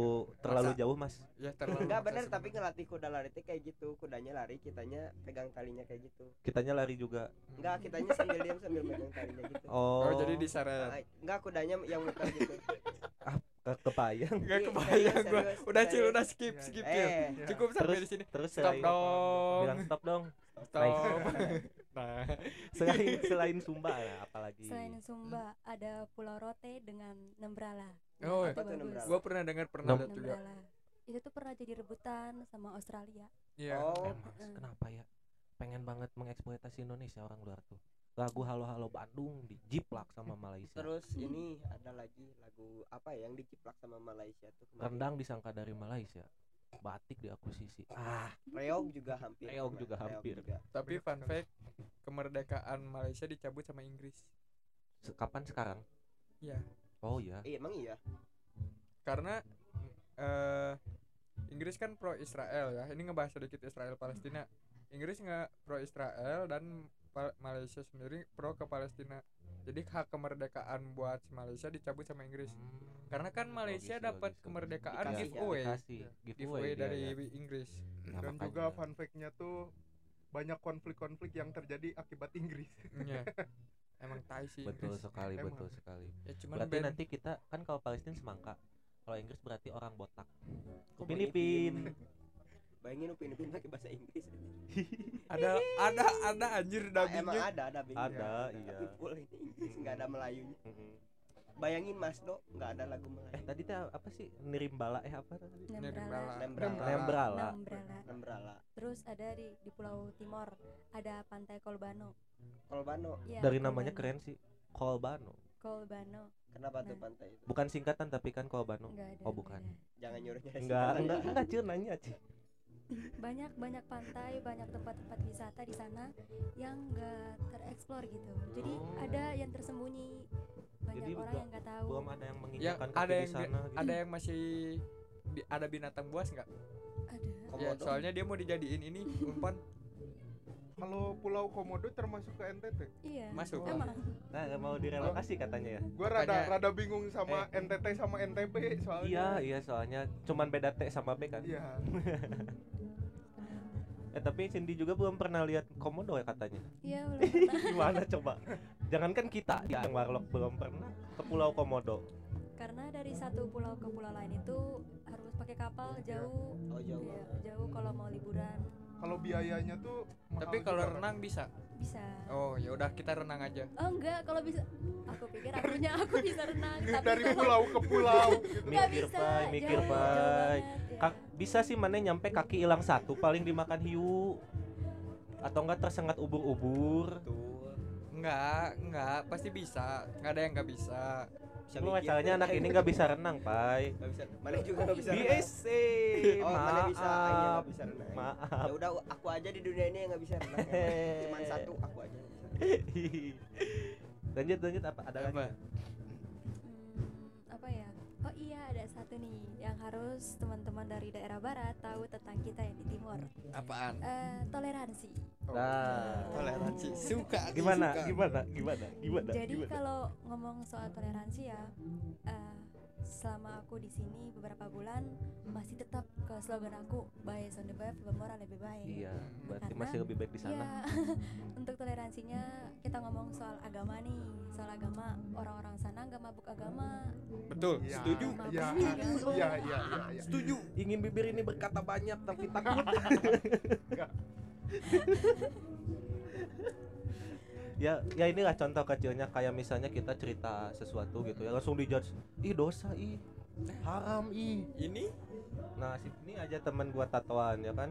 terlalu
Masa-
jauh mas.
ya terlalu.
Enggak
maksa
bener
sebenarnya.
tapi ngelatih kuda lari tuh kayak gitu. Kudanya lari, kitanya pegang talinya kayak gitu.
Kitanya lari juga.
Hmm.
Enggak, kitanya sambil diam sambil pegang talinya gitu.
Oh,
Oh, jadi diseret.
Ah, Enggak, kudanya yang muter gitu.
ke- kebayang.
Enggak
Iya,
kebayang
serius,
gua.
serius,
Udah Cil,
serius.
udah skip,
Iya,
skip Cil.
[laughs]
Eh,
Iya.
Cukup sampai
Terus-
di sini.
Terus
Stop
selain
dong.
bilang stop dong.
Stop. Nah,
Selain selain Sumba ya, apalagi.
Selain Sumba ada Pulau Rote dengan Nembrala.
Oh,
apa tuh
itu bagus.
Iya.
Nembrala?
gua pernah dengar pernah
Nom-
lihat juga.
Nembrala. Itu tuh pernah jadi rebutan sama Australia.
Iya.
Oh,
Eh, mas, kenapa ya? Pengen banget mengeksploitasi Indonesia orang luar tuh. Lagu Halo Halo Bandung dijiplak sama Malaysia.
terus ini ada lagi lagu apa ya yang diciplak sama Malaysia tuh kemarin.
Rendang disangka dari Malaysia. Batik diakusisi. Ah,
Reog juga hampir.
Reog juga
Reog
hampir.
juga.
Tapi
Bener
fun
sekali.
fact kemerdekaan Malaysia dicabut sama Inggris.
se- kapan sekarang?
Iya.
Oh ya.
Eh, emang iya.
Karena eh Inggris kan pro Israel ya. Ini ngebahas sedikit Israel Palestina. Inggris nggak pro Israel dan Pa- Malaysia sendiri pro ke Palestina. Jadi hak kemerdekaan buat si Malaysia dicabut sama Inggris.
Hmm.
Karena kan Malaysia dapat kemerdekaan
Dikasih ya,
giveaway, Iya.
Dikasih
giveaway
Iya, dia
dari
ya.
Inggris.
Nah,
Dan
makanya.
juga fun fact-nya tuh banyak konflik-konflik yang terjadi akibat Inggris. [laughs]
[laughs]
Iya. Emang tai sih
betul
Inggris.
sekali,
Emang.
betul sekali.
Ya cuman
Berarti
band-
nanti kita kan kalau Palestina semangka, kalau Inggris berarti orang botak. Upin
Upin
Ipin.
Bayangin Upin Ipin pakai bahasa Inggris.
ada ada ada anjir
Ah, emang
dubbingnya.
ada ada Bing.
Ada, iya.
Tapi full ini Inggris nggak ada Melayunya.
Mm-mm.
Bayangin Mas Do nggak ada lagu
Eh
Melayu.
tadi teh apa sih Nirimbala eh apa tadi?
Iya,
Nembrala.
Nembrala.
Lembrala.
Nembrala.
Nembrala,
Terus ada di di Pulau Timor ada Pantai Kolbano.
Kolbano.
Ya,
Dari namanya
Kolbano.
keren sih. Kolbano.
Kolbano.
Kenapa tuh
Nah.
pantai itu?
Bukan singkatan tapi kan Kolbano.
Enggak ada.
Oh,
nggak
bukan.
ada.
Jangan nyuruh nyuruh
Enggak, Eh, enggak, enggak cuy nanya cuy.
banyak banyak pantai banyak tempat-tempat wisata di sana yang nggak tereksplor gitu jadi
Oh.
ada yang tersembunyi banyak
Jadi
orang
nggak-
yang nggak tahu
Belum ada yang
Ya,
menginjakan
ada
kaki di
yang di-
sana gitu.
Ada yang masih bi- ada binatang buas nggak?
ada
Ya,
Komodo.
soalnya dia mau dijadiin ini umpan
Kalau Pulau Komodo termasuk ke NTT?
iya
masuk. lah.
emang
Nah, nggak mau direlokasi katanya ya.
Gua rada
Makanya- Eh.
rada bingung sama NTT sama NTB
Iya,
soalnya.
iya soalnya cuman beda T sama B kan.
Iya.
Eh tapi Cindy juga belum pernah lihat komodo ya katanya.
iya belum pernah.
Gimana coba? Jangankan kita ya, yang warlock belum pernah ke Pulau Komodo.
karena dari satu pulau ke pulau lain itu harus pakai kapal
Iya,
jauh
Oh jauh.
ya, jauh kalau mau liburan
Kalau biayanya tuh mahal
Tapi kalau
juga kan?
renang bisa.
bisa oh,
Oh, ya udah kita renang aja.
enggak kalau bisa aku pikir akunya aku bisa renang tapi
dari
kalau-
pulau ke
[laughs]
pulau gitu.
nggak
Mikir,
bisa
Pai,
jauh,
mikir,
jauh
Pai.
banget, ya.
Kak, bisa sih mana nyampe kaki hilang satu paling dimakan hiu atau enggak tersengat ubur-ubur.
Tuh.
Enggak, enggak, pasti bisa. Enggak ada yang nggak bisa.
Bisa
Cuma
mikir.
masalahnya anak ini nggak bisa renang, Pai.
Nggak bisa. Mana juga nggak iya. bisa. renang.
BSC.
Oh, mana bisa? Ah, iya,
maaf.
nggak bisa renang.
Maaf.
Ya udah aku aja di dunia ini yang nggak bisa
[laughs]
renang. emang. Cuman satu aku aja. yang bisa.
lanjut lanjut apa ada lagi?
Apa?
Oh.
Hmm, apa ya? Oh iya ada satu nih yang harus teman-teman dari daerah barat tahu tentang kita yang di timur.
Hmm.
Apaan?
Eh, toleransi.
Nah,
Toleransi. Suka nih,
gimana
suka.
gimana gimana gimana
Jadi
gimana?
kalau ngomong soal toleransi ya, eh, selama aku di sini beberapa bulan masih tetap ke slogan aku by on the best, bermoral lebih baik.
Iya, berarti
Karena-
masih lebih baik di sana.
Ya, [laughs] untuk toleransinya kita ngomong soal agama nih, soal agama orang-orang sana nggak mabuk agama.
Betul.
Iya,
Setuju.
Iya,
Setuju.
iya, iya, iya, iya.
Setuju. Ingin bibir ini berkata banyak tapi takut. ya ya inilah contoh kecilnya kayak misalnya kita cerita sesuatu gitu ya langsung dijudge ih dosa ih haram ih
Ini
Nah, si ini aja teman gua tatoan ya kan.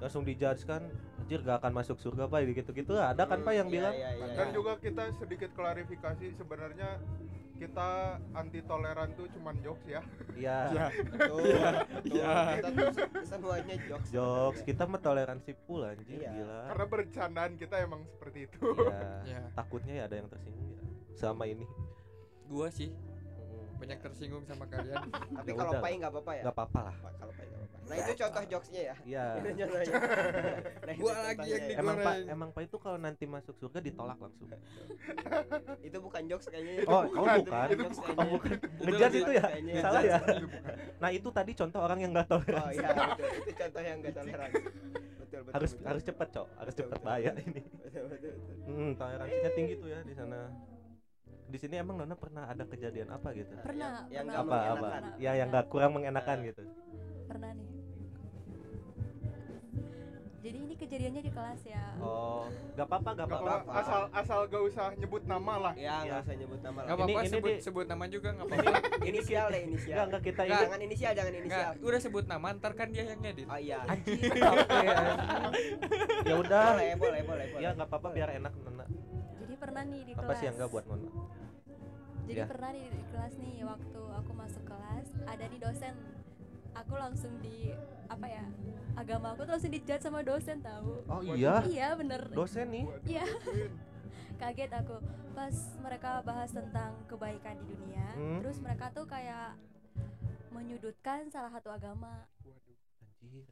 Langsung dijudge kan anjir gak akan masuk surga pak gitu-gitu ada kan pak yang
Hmm, iya,
bilang
iya, iya,
Kan
Dan
iya.
juga kita sedikit klarifikasi sebenarnya kita anti toleran tuh cuman jokes ya.
iya
Betul, betul.
iya.
Kita tuh se- semuanya jokes.
jokes kita mah toleransi full anjir
Iya.
gila
Karena bercandaan kita emang seperti itu.
Iya.
ya
takutnya ya ada yang tersinggung ya selama ini
gua sih
Mm.
banyak tersinggung sama kalian
[laughs]
Tapi
Ya
kalau
udah.
pai nggak apa-apa ya.
nggak apa-apa lah
Pak, Kalau pai nggak apa-apa. Nah itu contoh jokesnya ya.
iya
[laughs] Ini
[laughs]
contohnya. Nah, itu
Gua lagi yang
contohnya ya.
di-
emang pak
Goreng.
emang pak itu kalau nanti masuk surga ditolak langsung
itu bukan jokes kayaknya. ya.
oh
bukan,
oh bukan
itu bukan.
oh bukan ngejar
lagi.
itu ya
Kayaknya.
salah ya
Itu bukan.
nah itu tadi contoh orang yang nggak toleran
Oh iya betul. Itu contoh yang nggak
[laughs]
toleransi. Betul betul.
harus
betul.
harus cepet cok harus
Betul,
cepet
betul.
bahaya ini
Betul betul. betul.
hmm, toleransinya tinggi tuh ya di sana di sini emang nona pernah ada kejadian apa gitu
Nah,
Pernah,
yang- yang
pernah.
nggak
apa apa
mengenakan.
ya yang nggak kurang mengenakan gitu
pernah nih jadi ini kejadiannya di kelas ya
oh nggak apa-apa nggak
Nggak
apa-apa
apa-apa. asal asal gak usah nyebut nama lah.
Ya nggak
Iya.
usah nyebut nama
nggak
lah.
apa-apa
ini
sebut
di-
sebut nama juga nggak apa-apa
Inisial deh inisial.
nggak nggak kita
Nggak.
ini
Jangan inisial jangan
nggak
inisial.
udah sebut nama ntar kan dia yang ngedit
Oh iya.
ya udah
Boleh boleh boleh boleh.
ya nggak apa-apa biar enak nona
jadi pernah nih di
apa
kelas
sih yang nggak buat nona
jadi
Ya.
pernah nih di kelas nih waktu aku masuk kelas ada nih dosen aku langsung di apa ya agama aku tuh langsung dijat sama dosen tahu
oh
Waduh.
iya
iya bener
dosen nih
Waduh,
Iya. [laughs]
Vin.
kaget aku pas mereka bahas tentang kebaikan di dunia
Hmm.
terus mereka tuh kayak menyudutkan salah satu agama
Waduh.
Anjir.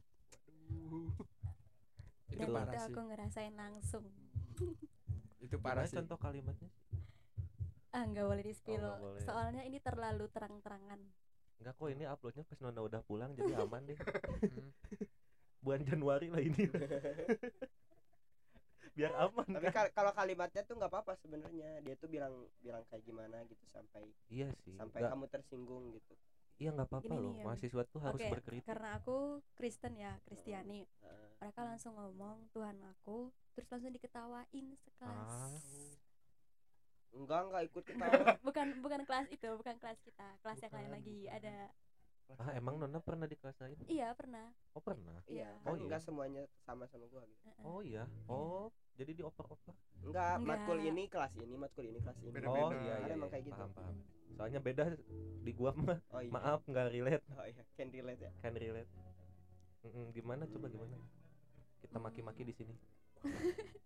itu
dan itu
parah sih
aku ngerasain langsung
itu parah
Gimana
sih
contoh kalimatnya
ah nggak boleh di spill
Oh, nggak boleh.
soalnya ini terlalu terang-terangan
Enggak kok
Hmm.
ini uploadnya pas Nona udah pulang jadi aman deh
Hmm.
bulan Januari lah ini [laughs] biar aman
Iya, Tapi
kan
kal- kalau kalimatnya tuh nggak apa-apa sebenarnya. Dia tuh bilang bilang kayak gimana gitu sampai
iya sih
sampai
nggak-
kamu tersinggung gitu.
iya nggak apa-apa
Gini
loh
nih ya.
mahasiswa tuh harus
Oke,
berkritik
karena aku Kristen ya Kristiani
Heeh.
mereka langsung ngomong Tuhan aku terus langsung diketawain sekelas
Ah.
enggak enggak ikut [laughs] ketawa.
bukan bukan kelas itu bukan kelas kita kelas yang lain
Bukan,
lagi
bukan.
ada
ah emang Nona pernah dikerasain
iya pernah
oh pernah
iya,
Iya.
kan
Oh, iya.
enggak semuanya sama sama gua gitu.
Heeh.
oh iya oh jadi dioper-oper
Enggak,
Enggak.
matkul ini kelas ini, matkul ini kelas ini.
Hmm.
Beda-beda.
oh iya
Kan
iya,
emang
iya.
kayak gitu.
paham paham soalnya beda di gua mah
Oh iya.
maaf nggak relate
[laughs] Oh iya, can relate ya.
kan relate Mm-mm, gimana coba gimana
Hmm.
kita maki-maki di sini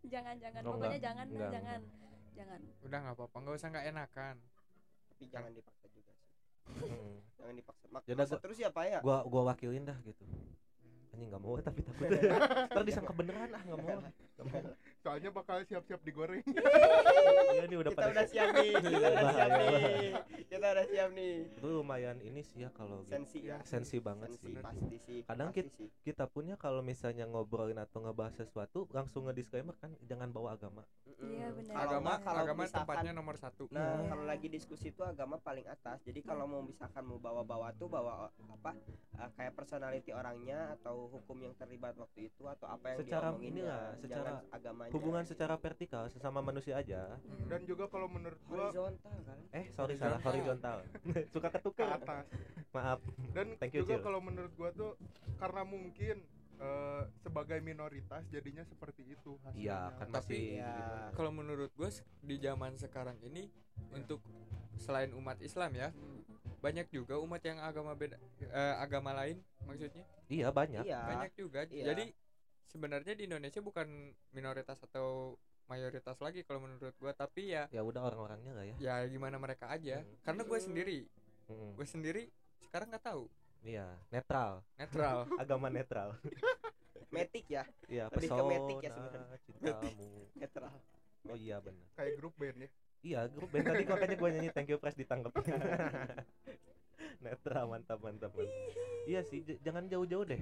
jangan jangan
Oh,
pokoknya
enggak.
jangan dah,
Enggak,
jangan jangan
[laughs] udah nggak apa-apa nggak usah nggak enakan
Tapi
Kan.
jangan dipaksa juga sih.
Mm.
Jangan dipaksa. Mak
Yaudah,
maksa
gua-
terus ya, Pak ya.
gua gua wakilin dah gitu anjing nggak mau tapi
[laughs]
takut ntar disangka beneran ah nggak mau lah. Nggak mau lah.
Soalnya bakal siap-siap
[laughs]
digoreng.
iya nih udah
kita
pada Iya.
udah siap
[laughs]
nih. Kita udah
Bahaya,
siap nih.
bahaya.
Kita udah siap nih.
itu gitu, lumayan ini sih ya kalau gitu.
Sensi ya.
sensi banget
Sensi
sih
pasti sih.
Kadang
pasti
kit-
sih.
kita punya kalau misalnya ngobrolin atau ngebahas sesuatu langsung ngedisclaimer kan jangan bawa agama
Iya,
Mm-mm.
benar.
Kalau
Hmm, agama
enggak, kalau
agama
misalkan-
tempatnya nomor satu
Nah,
Iya.
kalau lagi diskusi itu agama paling atas. Jadi kalau mau misalkan mau bawa-bawa tuh bawa o- apa eh, kayak personality orangnya atau hukum yang terlibat waktu itu atau apa yang
Secara
diomongin
inilah, secara
agamanya. gitu.
hubungan secara vertikal sesama manusia aja
Mm.
Dan juga kalau menurut gua
horizontal kan.
eh sorry salah
[laughs]
horizontal suka
ke
ketukar
atas.
maaf
Dan
Thank you,
juga
Cil.
kalau menurut gua tuh karena mungkin eh, sebagai minoritas jadinya seperti itu
iya
hasilnya.
kan
Tapi-
masih
Iya.
kalau menurut gue di zaman sekarang ini untuk selain umat Islam ya banyak juga umat yang agama beda eh, agama lain maksudnya
iya banyak
Iya.
Ya, banyak juga
iya.
jadi sebenarnya di Indonesia bukan minoritas atau mayoritas lagi kalau menurut gue tapi ya
ya udah orang-orangnya lah ya
ya gimana mereka aja
Hmm.
karena gue sendiri
Mm,
gue sendiri sekarang nggak tahu
iya
[laughs]
netral
netral
agama netral
Metik ya,
Iya,
Lebih ke
pesona
metik ya sebenarnya.
cintamu.
netral.
Oh iya benar.
kayak grup band ya.
Iya, grup band tadi gua makanya gua nyanyi Thank You Press ditangkap. Netra mantap mantap. mantap. iya sih, j- jangan jauh-jauh deh.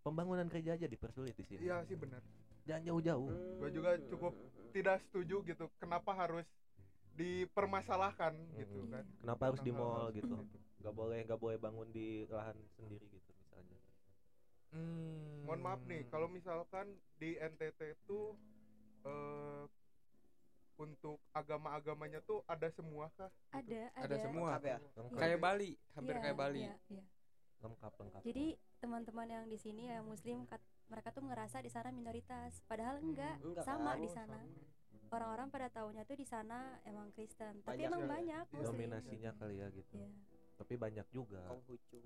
Pembangunan gereja aja dipersulit di sini.
Iya Hmm. sih benar.
Jangan jauh-jauh.
Gua juga cukup Tidak setuju gitu. Kenapa harus dipermasalahkan gitu
Mm-mm.
kan?
Kenapa harus di
Tentang hal-hal
mall gitu?
seperti itu.
Gak boleh gak boleh bangun di lahan sendiri gitu misalnya.
Hmm.
Mohon maaf nih, kalau misalkan di NTT itu eh untuk agama-agamanya tuh ada semua kah?
ada ada,
ada semua
Lengkap ya?
Lengkap,
kayak Bali hampir
Iya,
kayak Bali
iya, iya.
lengkap lengkap.
jadi teman-teman yang di sini ya muslim kat- mereka tuh ngerasa di sana minoritas padahal
Hmm,
enggak,
Enggak
sama
kan?
di sana
gitu.
orang-orang pada taunya tuh di sana emang Kristen tapi
Banyak
emang
ya.
banyak
Iya.
Muslim.
dominasinya kali ya gitu
Iya.
tapi banyak juga Hmm.
Konghucu.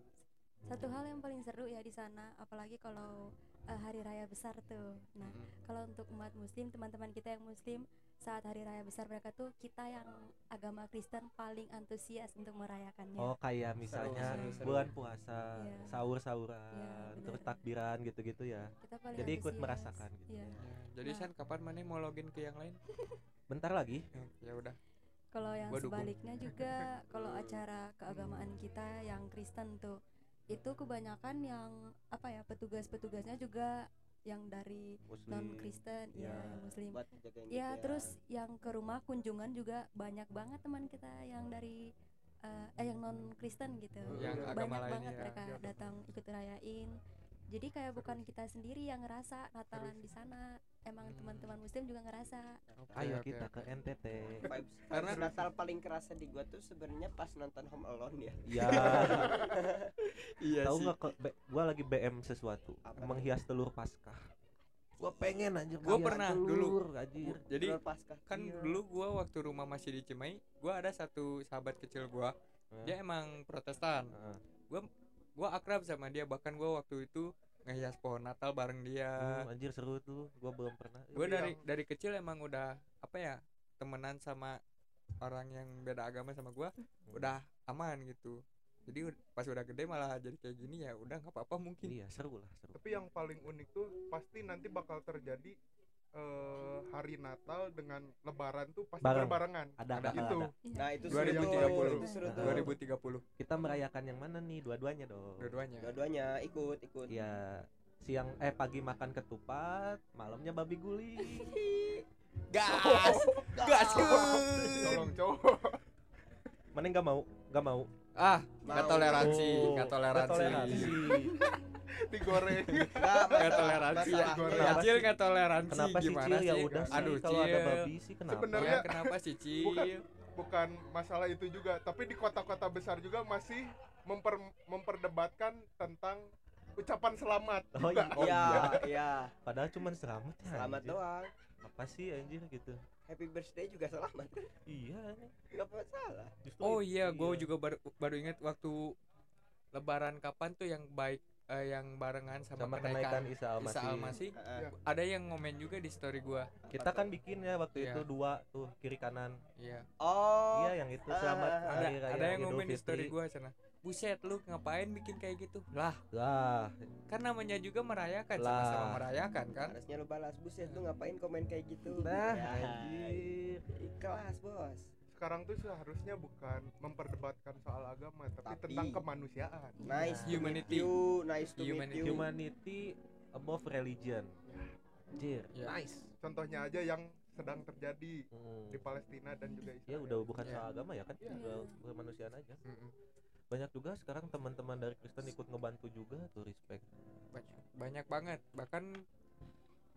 satu hal yang paling seru ya di sana apalagi kalau eh, hari raya besar tuh nah
Hmm.
Hmm.
kalau untuk umat muslim teman-teman kita yang muslim saat hari raya besar mereka tuh kita yang agama Kristen paling antusias untuk merayakannya
oh kayak misalnya
seru, seru.
bulan puasa
ya. Iya.
sahur sahuran
Iya,
terus
benar.
takbiran gitu-gitu ya
kita paling
jadi ikut
antusias.
merasakan gitu
Iya.
Ya, jadi
Nah.
San kapan mana mau login ke yang lain?
bentar lagi
Ya, Ya udah.
Kalau yang
Gua dukung.
sebaliknya
[laughs]
juga kalau acara keagamaan kita yang Kristen tuh itu kebanyakan yang apa ya petugas-petugasnya juga yang dari non
muslim
Kristen
Ya.
ya, yang Muslim.
buat jagain
Ya
gitu
terus yang ke rumah kunjungan juga banyak banget teman kita yang dari eh, eh yang non Kristen gitu.
Yang agama
banyak
lain
banget
ya.
mereka
Iya, betul.
datang ikut rayain. Jadi kayak bukan kita sendiri yang ngerasa Natalan di sana. Emang
Hmm.
teman-teman Muslim juga ngerasa.
Oke,
ayo
Iya, oke,
kita
oke.
ke NTT
Vibes,
Karena-
vibes Natal paling kerasa di gua tuh sebenarnya pas nonton Home Alone ya.
[laughs] ya
Iya
tahu
sih.
nggak kok, be- gua lagi BM sesuatu
Apa tuh?
menghias telur paskah gua pengen anjir
Gua
menghias
pernah
telur,
dulu.
anjir.
Jadi
Telur Paskah.
kan
Iya.
dulu gua waktu rumah masih di Cimahi, gua ada satu sahabat kecil gua.
Hah?
Dia emang Protestan.
Heeh.
Gua akrab sama dia, bahkan gua waktu itu ngehias pohon Natal bareng dia.
Hmm, anjir seru tuh gua belum pernah
gue
Tapi
dari
yang-
dari kecil emang udah apa ya temenan sama orang yang beda agama sama gua
Hmm.
udah aman gitu jadi ud- pas udah gede malah jadi kayak gini ya udah nggak apa-apa mungkin
iya seru lah seru
tapi yang paling unik tuh pasti nanti bakal terjadi eh, hari Natal dengan Lebaran tuh pasti
Bareng.
berbarengan Gitu.
ada
Ada.
bakal
itu
ada.
Nah, itu
2030.
Itu seru tuh.
2030
kita merayakan yang mana nih dua-duanya dong
dua-duanya
Dua-duanya ikut, ikut.
ya siang eh pagi makan ketupat malamnya babi guling
gas gas
tolong cowok
mana nggak mau nggak mau
ah nggak
Mau.
toleransi nggak
Oh, nggak
toleransi
toleransi
[laughs] digoreng
Nggak, Iya,
nggak
masalah-
toleransi
masalah
Gua
budaya.
Kenapa
kecil
sih?
nggak toleransi
kenapa sih
gimana
cil ya
sih
udah sih
aduh
kalau ada
Cil.
babi sih kenapa
Sebenarnya-
Ya, kenapa sih cil
Bukan. bukan masalah itu juga tapi di kota-kota besar juga masih memper memperdebatkan tentang ucapan selamat
oh iya, oh
Iya,
iya.
iya.
padahal cuman selamat
Iya,
ya
Selamat
anjir.
doang.
apa sih anjir gitu
Happy birthday juga selamat.
iya ini
Enggak masalah.
justru
Oh
itu,
iya, gue juga baru baru ingat waktu Lebaran kapan tuh yang baik eh, yang barengan sama,
sama kenaikan
kenaikan, Isa
Isa Almasih
Almasih.
Heeh.
Iya.
Ada yang ngomen juga di story gua.
kita kan bikin ya waktu
Iya.
itu dua tuh kiri kanan
Iya.
Oh,
iya yang itu selamat
Ah,
Ada
hari raya
ada yang
Idul
ngomen di
Fitri.
story gua sana. Buset lu ngapain bikin kayak gitu? Lah,
lah
kan namanya juga merayakan
Lah.
sama-sama merayakan kan.
harusnya lu balas. Buset, lu ngapain komen kayak gitu?
nah
Ya,
anjir
Ikhlas, Bos.
sekarang tuh seharusnya bukan memperdebatkan soal agama tapi,
Tapi-
tentang kemanusiaan
Nice to meet
Humanity.
you. Nice to
Humanity.
meet you.
humanity above religion anjir
Iya.
nice
contohnya aja yang sedang terjadi
Hmm.
di Palestina dan juga
ya
Israel
udah bukan
Iya.
soal agama ya kan
Iya.
udah kemanusiaan aja
Mm-mm.
banyak juga sekarang teman-teman dari Kristen ikut ngebantu juga tuh respect
Banyak, banyak banget. Bahkan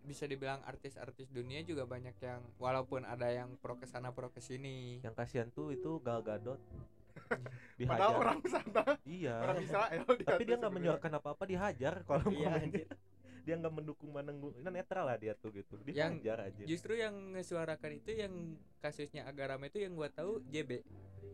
bisa dibilang artis-artis dunia juga banyak yang walaupun ada yang pro kesana pro kesini
yang kasihan tuh itu Gal
[laughs]
Gadot
padahal
dihajar
orang sana
iya
orang Israel
tapi dia
tuh
nggak
sebenarnya.
menyuarakan apa-apa dihajar kalau
Iya,
komen
anjir.
[laughs] dia nggak mendukung mana nah, netral lah dia tuh gitu
Yang
dihajar
Iya.
aja
Justru yang ngesuarakan itu yang kasusnya agak rame itu yang gua tahu JB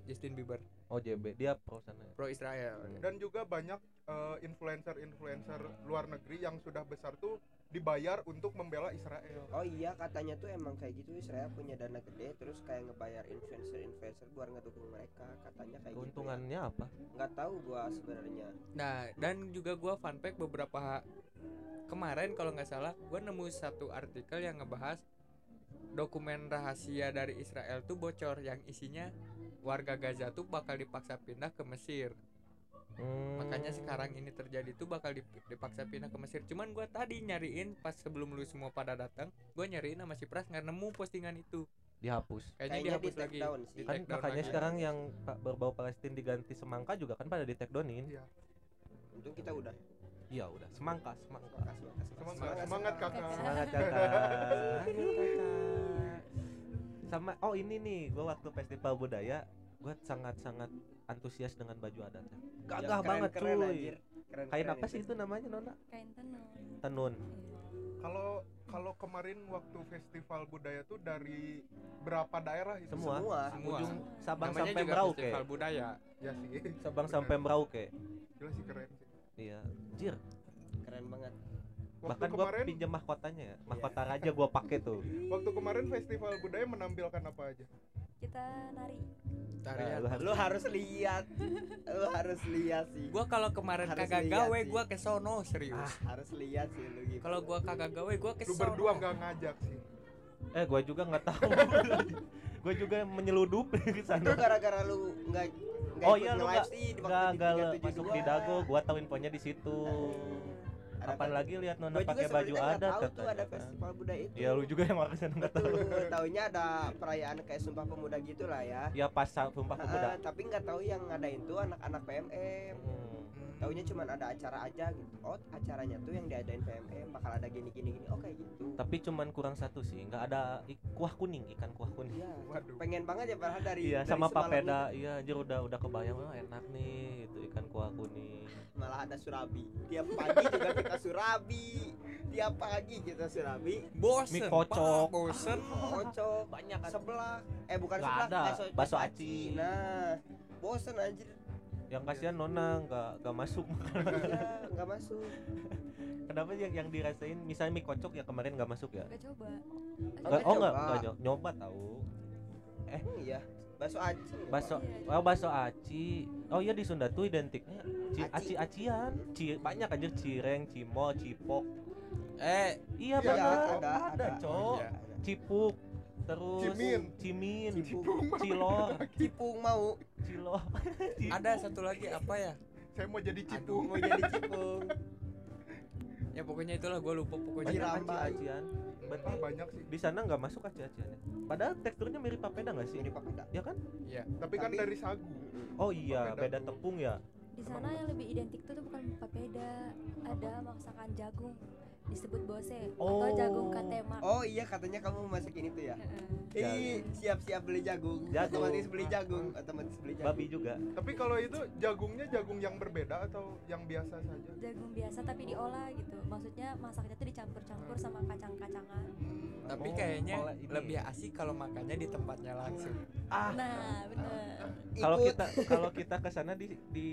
Justin Bieber
oh JB dia pro sana
pro Israel.
Iya.
dan juga banyak eh, influencer-influencer luar negeri yang sudah besar tuh dibayar untuk membela Israel.
Oh iya katanya tuh emang kayak gitu Israel punya dana gede terus kayak ngebayar influencer-influencer buat ngedukung mereka
ya.
katanya kayak gitu.
keuntungannya apa
ya. nggak tahu gua sebenarnya.
Nah, dan juga gua fun fact beberapa ha- kemarin kalau nggak salah gua nemu satu artikel yang ngebahas dokumen rahasia dari Israel tuh bocor yang isinya warga Gaza tuh bakal dipaksa pindah ke Mesir.
Hmm.
Makanya sekarang ini terjadi tuh bakal dip- dipaksa pindah ke Mesir. Cuman gua tadi nyariin pas sebelum lu semua pada datang, gua nyariin sama si Pras nggak nemu postingan itu.
dihapus
Kayaknya,
Kayaknya
dihapus
di take
lagi.
down sih.
Di
kan
take down
makanya
lagi.
sekarang yang pa- berbau Palestina diganti semangka juga kan pada di take downin
Iya.
Untung kita udah
iya udah semangka semangka
semangat semangat semangat,
Semangat, semangat kakak.
Semangat
[laughs]
kakak. Sama oh ini nih, gua waktu festival budaya, gua sangat-sangat antusias dengan baju adatnya.
Ya,
Gagah
keren,
banget
keren,
cuy.
anjir. Keren,
Kain
keren
apa sih itu namanya Nona?
Kain tenun.
Tenun.
Iya.
Kalau kalau kemarin waktu festival budaya tuh dari berapa daerah itu?
Semua.
semua
Semua.
Ujung Sabang
Namanya
sampai
juga
Merauke.
festival budaya.
Ya sih.
Sabang
Bener.
sampai Merauke.
Gila sih keren sih.
Iya. Jir,
keren banget
Waktu
bahkan gua
kemarin
pinjam mahkotanya. ya. Mahkota raja gua pakai tuh.
waktu kemarin festival budaya menampilkan apa aja?
kita nari
Tarian.
Nah, lu harus-
lu harus lihat lu harus lihat sih
gua kalau kemarin
Harus
kagak
lihat
gawe
sih.
gua ke sono
Ah,
serius
harus lihat sih lu gimana.
kalau gua kagak gawe gua ke
Lu
sono
berdua nggak ngajak sih.
Eh, gua juga nggak tahu. gua juga menyeludup di
itu
sana.
gara-gara lu nggak nggak
Oh
ikut
iya, lu
nge-live sih di waktu di
Gagal
372.
masuk di dago, gua tahu infonya di situ.
Nah, iya. Ada
Kapan
tahu.
lagi lihat
Gua
Nona
juga
pakai baju
sebenarnya nggak
adat
tahu tuh ada
katanya. kan.
festival budaya itu
Ya lu juga yang harusnya nggak tahu.
Betul, taunya ada perayaan kayak sumpah pemuda gitulah ya
Ya pas sa- sumpah pemuda.
Ah, tapi nggak tahu yang ngadain tuh anak-anak PMM
Hmm.
taunya cuman ada acara aja gitu oh acaranya tuh yang diadain PMM bakal ada gini gini gini oke gitu
Tapi cuman kurang satu sih, nggak ada ik- kuah kuning, ikan kuah kuning.
Iya,
Waduh.
pengen banget ya padahal dari dari
Iya, sama
semalam
papeda. Iya, anjir udah udah kebayang "Ah, enak nih itu ikan kuah kuning.
itu malah ada surabi tiap pagi juga kita surabi tiap pagi kita surabi
bosen
Mie kocok.
Pak, bosen
kocok
Banyak
sebelah eh bukan
Nggak
sebelah
ada,
bakso-
bakso aci.
nah bosen anjir
Yang kasihan Nona nggak nggak masuk. [laughs]
iya nggak masuk
Kenapa yang yang dirasain misalnya mie kocok yang kemarin nggak masuk ya?
nggak coba
Nggak,
Nggak
oh nggak
coba.
nggak nyoba, nyoba tahu.
Hmm, iya bakso aci
Baso,
Iya.
oh baso aci. Oh iya di Sunda tuh identiknya ci,
Aci.
aci acian. Ci, banyak anjir cireng, cimol, cipok.
eh
Iya,
Iya,
bener.
ada, ada.
Cok.
Iya.
Ada.
Cipuk. Terus
Cimin.
cimin,
Cipung.
cilor,
cipung mau
cilor.
ada satu lagi apa ya
Hmm. Saya mau jadi
cipung
cipung.
mau jadi cipung
ya pokoknya itulah gua lupa
Banyak
pokoknya
Jiram. Rambai.
aci-acian. Berarti-
Ah, banyak sih.
Di sana nggak masuk aci-aciannya. Padahal teksturnya mirip papeda nggak sih?
ini papeda
Ya kan?
Tapi kan
Tapi-
dari sagu.
Oh iya, beda
Papeda tuh.
tepung ya.
di sana yang lebih identik tuh, tuh bukan papeda ada masakan jagung disebut bose atau
Oh.
jagung katema
oh iya katanya kamu mau masak ini tuh ya
Heeh.
Ih, siap-siap beli jagung.
Jagung.
Otomatis beli jagung, otomatis beli jagung.
Babi juga.
Tapi kalau itu jagungnya jagung yang berbeda atau yang biasa saja?
jagung biasa tapi diolah gitu maksudnya masaknya tuh dicampur-campur sama kacang-kacangan
tapi
Oh,
kayaknya
oleh ini.
lebih asik kalau makannya di tempatnya langsung
Ah,
nah bener
kalau
Ikut.
kita kalau kita ke sana di di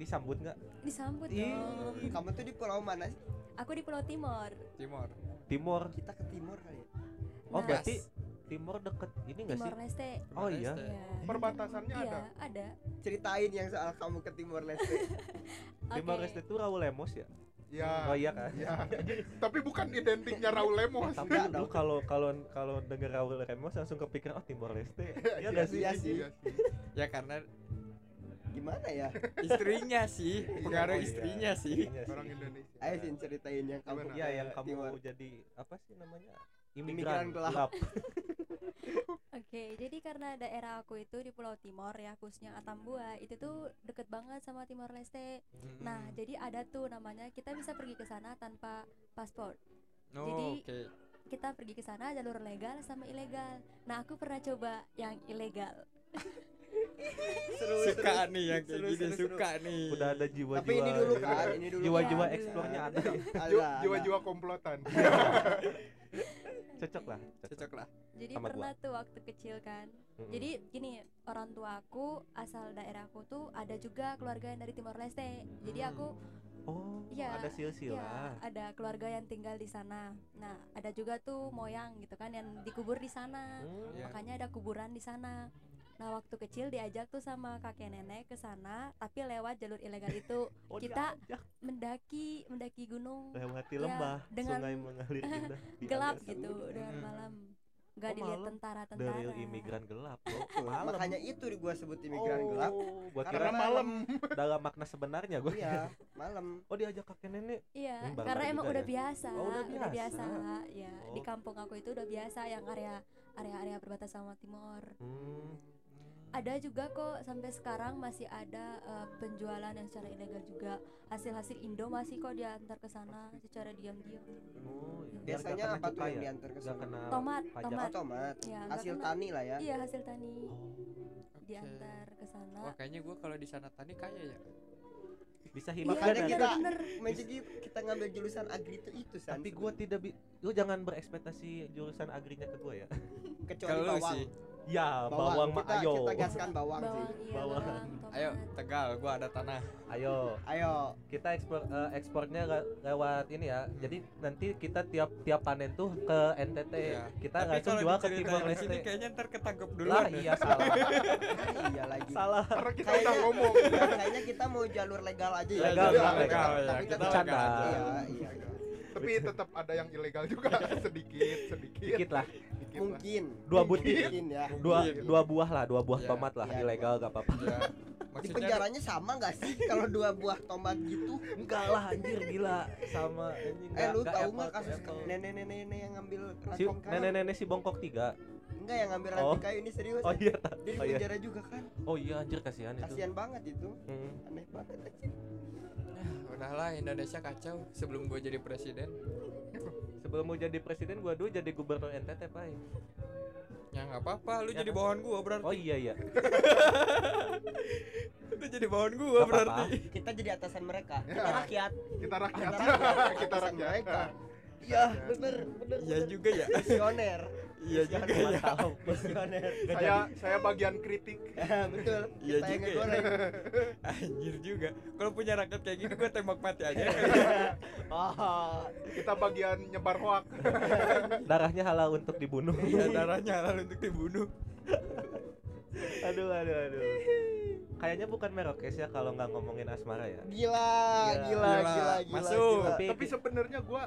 disambut nggak?
disambut
Ih.
dong
kamu tuh di pulau mana sih?
aku di Pulau Timor
Timor
Timur.
Kita ke timur kali ya.
Oh,
Nah,
berarti timur deket ini enggak sih?
Timor Leste
Oh iya.
Timor Leste.
Iya.
Perbatasannya
Iya,
ada.
ada.
Ceritain yang soal kamu ke timur leste.
Timor
Oke.
Leste itu Raul Lemos ya?
Ya.
Oh iya kan. Iya,
Ya. Tapi bukan identiknya Raul Lemos. Iya,
Tapi lu kalau kalau kalau denger Raul Lemos langsung kepikiran oh Timor Leste. Iya enggak sih?
Iya sih.
ya karena
Gimana ya?
istrinya
[laughs]
sih pengaruh
Oh, iya.
istrinya sih
Istrinya
Orang
sih.
Indonesia.
Ayo sih ceritain yang kamu.
Gimana?
Iya,
ke
yang kamu
timur.
jadi apa sih namanya?
Imigran
Imigran
gelap.
gelap.
Oke, jadi karena daerah aku itu di Pulau Timor ya, khususnya Atambua, itu tuh deket banget sama Timor Leste. Nah,
Hmm.
Mm.
jadi ada tuh namanya kita bisa pergi ke sana tanpa paspor.
Oh,
jadi-
oke
Kita pergi ke sana jalur legal sama ilegal. Nah, aku pernah coba yang ilegal.
Seru,
suka
seru.
nih yang kayak
Seru,
gini
seru, seru.
suka nih
Udah ada jiwa-jiwa. gitu.
Tapi ini dulu kan, ini dulu.
Jiwa-jiwa
Iya.
eksplornya ada.
Ada,
Ju-
ada.
Jiwa-jiwa komplotan.
Cocok lah. Cocok.
cocok lah
Jadi
Sama Hmm.
pernah tuh waktu kecil kan.
Mm-mm.
Jadi gini, orang tua aku asal daerahku tuh ada juga keluarga yang dari Timor Leste. Jadi
Hmm.
aku
Oh,
Ya,
ada
Ya,
silsilah.
ada keluarga yang tinggal di sana. Nah, ada juga tuh moyang gitu kan yang dikubur di sana.
Hmm.
Iya.
Makanya ada kuburan di sana. Nah, waktu kecil diajak tuh sama kakek nenek ke sana, tapi lewat jalur ilegal
[laughs]
itu
Oh,
Kita-
diajak
mendaki, mendaki gunung
lewati
Ya,
lembah,
dengan
sungai
[laughs]
mengalir indah. Eh, di
gelap
atas
gitu
samudra.
dengan
Hmm.
malam.
Oh,
Gak dilihat
malam. The
tentara-tentara.
real imigran gelap. Bro.
Tuh,
Malam.
[laughs] Makanya itu di gua sebut imigran gelap.
Oh, gua kira
Karena malam.
dalam makna sebenarnya gua.
Iya, malam.
Oh, diajak kakek nenek.
Iya,
Hmm, barbar
karena emang
juga
udah
ya.
biasa,
Oh, udah biasa.
biasa. Ya,
Oh.
di kampung aku itu udah biasa yang area area-area berbatas sama timor.
Hmm.
ada juga kok sampai sekarang masih ada eh, penjualan yang secara ilegal juga hasil-hasil Indo masih kok diantar ke sana secara diam-diam
Oh, iya.
Biasanya
Biar
apa tuh
nggak kena
yang
cukai ya?
diantar ke
Nggak
sana?
kena
tomat
pajak.
tomat
Otomat.
ya, nggak
Hasil
kena.
tani lah ya.
iya hasil tani
Oh.
Oke.
diantar ke sana
Wah kayaknya gue kalau di sana tani kaya ya
bisa
Iya,
hibah
Makanya
kan?
kita
bener.
Jadi kita ngambil jurusan agri itu itu san.
tapi gue tidak bi lu jangan berekspektasi jurusan agrinya ke gue ya
kecuali
Kalau lu
bawang.
sih,
ya bawang, mah
kita,
ayo
kita gaskan bawang, sih.
Bawang, iya
Bawang.
bawang. tomat.
ayo Tegal, gua ada tanah.
ayo
Ayo.
kita ekspor eh, ekspornya le- lewat ini ya jadi nanti kita tiap tiap panen tuh ke NTT
Iya.
kita
Tapi
langsung
kalau
jual ke
diceritain
Timor
di sini
Leste
kayaknya ntar ketangkep dulu. ya.
lah iya salah
Ah, [laughs] iya lagi.
salah
karena kita
Kayaknya-
udah ngomong
Kayaknya kita mau jalur legal aja ya.
Legal,
legal,
legal,
ya.
Tapi
Kita
tetap-
bercanda.
Iya, iya. iya.
tapi tetap ada yang ilegal juga sedikit sedikit
Iya,
dikit lah
sedikit lah.
Mungkin.
Dua butir.
Mungkin ya.
dua
Mungkin.
dua buah lah dua buah
Iya.
tomat lah
Iya,
ilegal gak
[laughs]
apa-apa
Iya.
Di
Maksudnya
penjaranya sama nggak sih [laughs] kalau dua buah tomat gitu?
enggak lah anjir gila sama anjing
Eh
nggak-
lu
nggak
tahu
apple
nggak
to
kasus
apple.
nenek-nenek yang ngambil
si
ranting kayu?
nenek-nenek si bongkok tiga
Enggak yang ngambil
Oh.
ranting kayu ini serius.
oh iya ta-
Dia di
oh iya
penjara juga kan.
oh iya anjir kasihan itu
Kasihan banget itu.
Hmm.
Aneh banget aja.
udahlah Indonesia kacau sebelum gua jadi presiden.
sebelum mau jadi presiden gua dulu jadi gubernur NTT pai
Ya nggak apa-apa, lu
Ya
jadi
kan?
bawahan gua berarti.
oh iya
[laughs]
iya
Lu jadi bawahan gua
Oh. Nggak apa-apa.
berarti.
Kita jadi atasan mereka. Kita
Ya.
rakyat.
kita rakyat [laughs]
Kita rakyat.
kita
Atasan
rakyat
Ya.
mereka. Iya, bener, bener.
Iya
bener.
juga ya.
[laughs]
Visioner.
Iya
Visioner,
juga ya.
mantap. Visioner.
saya saya bagian kritik
[laughs] Betul.
Iya
Kita yang
juga ya.
ngegoreng.
Anjir juga. Kalau punya rakyat kayak gini gua tembak mati
[laughs]
aja.
Ah,
kita bagian nyebar hoak
darahnya halal untuk dibunuh
Iya, darahnya halal untuk dibunuh.
aduh aduh aduh kayaknya bukan merokes ya kalau nggak ngomongin asmara ya
gila,
Gila.
gila,
Gila.
gila, gila.
Masuk.
gila.
Tapi-
tapi sebenarnya gua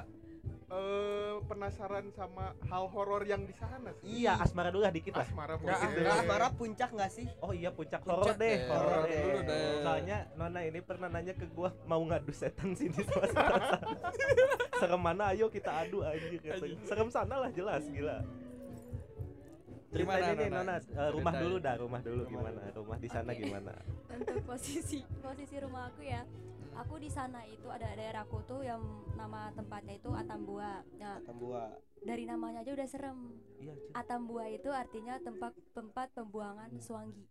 eh, penasaran sama hal horor yang di sana sih
iya asmara dulu lah dikit lah
asmara
Nggak,
boleh.
nggak.
Asmara puncak nggak sih?
oh iya puncak horor
Puncak ya,
deh horor
horor
deh
dulu deh.
soalnya nona ini pernah nanya ke gua mau ngadu setan sini sama setan
[laughs]
serem mana ayo kita adu anjir katanya. serem sana lah jelas gila
Gimana,
Ceritain ini
Nona?
nona, eh, rumah
Ceritain.
dulu dah rumah dulu
Rumah.
gimana rumah di sana
Oke.
gimana
untuk [laughs] posisi posisi rumah aku ya aku di sana itu ada daerahku tuh yang nama tempatnya itu Atambua nah
Tambua.
dari namanya aja udah serem
iya anjir.
Atambua itu artinya tempat tempat pembuangan suanggi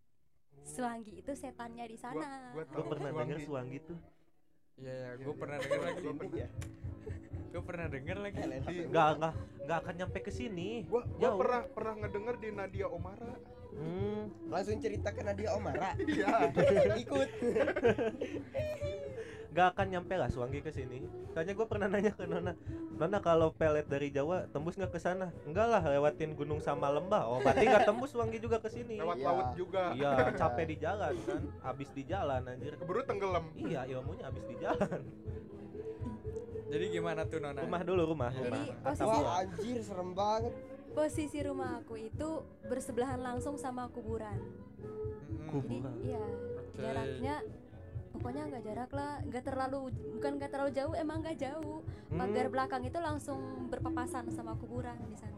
suanggi itu setannya di sana
gua
gua
tahu.
pernah
Suwangi.
dengar suang gitu
Iya, ya, gua pernah denger lagi. Iya.
Gua pernah-
Gua pernah denger lagi.
Eh,
nggak nggak nggak akan nyampe ke sini
gua gua
Jauh.
pernah pernah ngedenger di Nadia Omara
hmm.
Langsung cerita ke Nadia
[laughs]
Omara.
iya
Ikut.
nggak akan nyampe lah Suwangi ke sini. Soalnya gue pernah nanya ke Nona, Nona kalau pelet dari Jawa tembus nggak ke sana? Enggak lah, lewatin gunung sama lembah. Oh, berarti nggak tembus Suwangi juga ke sini.
lewat
Iya.
laut juga
Iya, capek di jalan kan, abis di jalan anjir.
keburu tenggelam
Iya, ilmunya abis di jalan.
Jadi gimana tuh
Nah.
Nona?
Rumah dulu rumah,
Jadi,
rumah.
posisi-
Atap dua.
Wah anjir serem banget.
posisi rumah aku itu bersebelahan langsung sama kuburan
Mm-mm.
Kubu.
jadi
Kuburan.
iya
Oke.
jaraknya pokoknya nggak jarak lah nggak terlalu bukan nggak terlalu jauh emang nggak jauh
Hmm,
pagar belakang itu langsung berpapasan sama kuburan di sana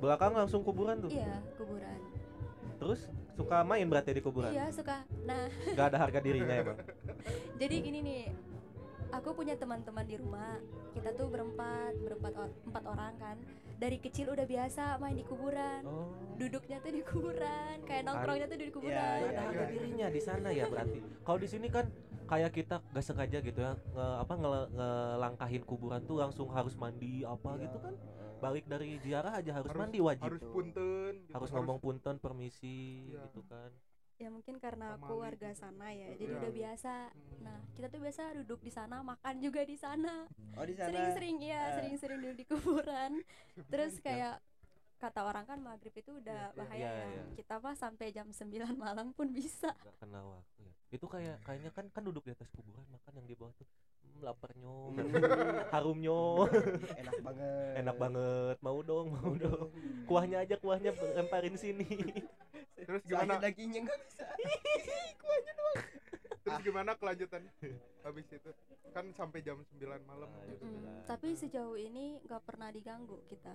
belakang langsung kuburan tuh.
iya kuburan
Terus suka main berarti di kuburan.
iya suka nah
Nggak ada harga
[laughs]
dirinya emang.
jadi gini nih aku punya teman-teman di rumah kita tuh berempat berempat or- empat orang kan dari kecil udah biasa main di kuburan
Oh.
duduknya tuh di kuburan kayak nongkrongnya tuh di kuburan
Iya,
Nggak ada harga
iya.
dirinya di sana ya berarti. Kalau di sini kan kayak kita gak sengaja gitu ya nge- apa ngel- ngelangkahin kuburan tuh langsung harus mandi apa
Iya.
gitu kan. Balik dari ziarah aja harus,
Harus-
mandi wajib.
harus
Harus,
punten gitu,
ngomong punten permisi
Iya.
gitu kan.
ya mungkin karena
Pemali
aku warga
gitu.
sana ya jadi
Iya.
udah biasa
Hmm.
nah kita tuh biasa duduk di sana makan juga di sana
Oh di sana.
sering-sering
Eh. Iya.
iya sering-sering duduk di kuburan
Ya.
terus kayak kata orang kan maghrib itu
Iya,
udah
iya.
bahaya
Iya,
ya
iya.
kita mah sampai jam 9 malam pun bisa
Gak kenal waktu ya. Itu kayak kayaknya kan kan duduk di atas kuburan makan yang di bawah tuh "Hmm, laparnya
[laughs]
harumnya
Oh, Enak banget.
enak banget mau dong mau dong kuahnya aja kuahnya lemparin sini
[laughs] terus
Soalnya
gimana
dagingnya nggak bisa.
terus
Ah.
gimana kelanjutannya habis itu kan sampai jam 9 malam
Ah, jam
Gitu
Mm,
kan.
9.
tapi
Nah.
sejauh ini nggak pernah diganggu kita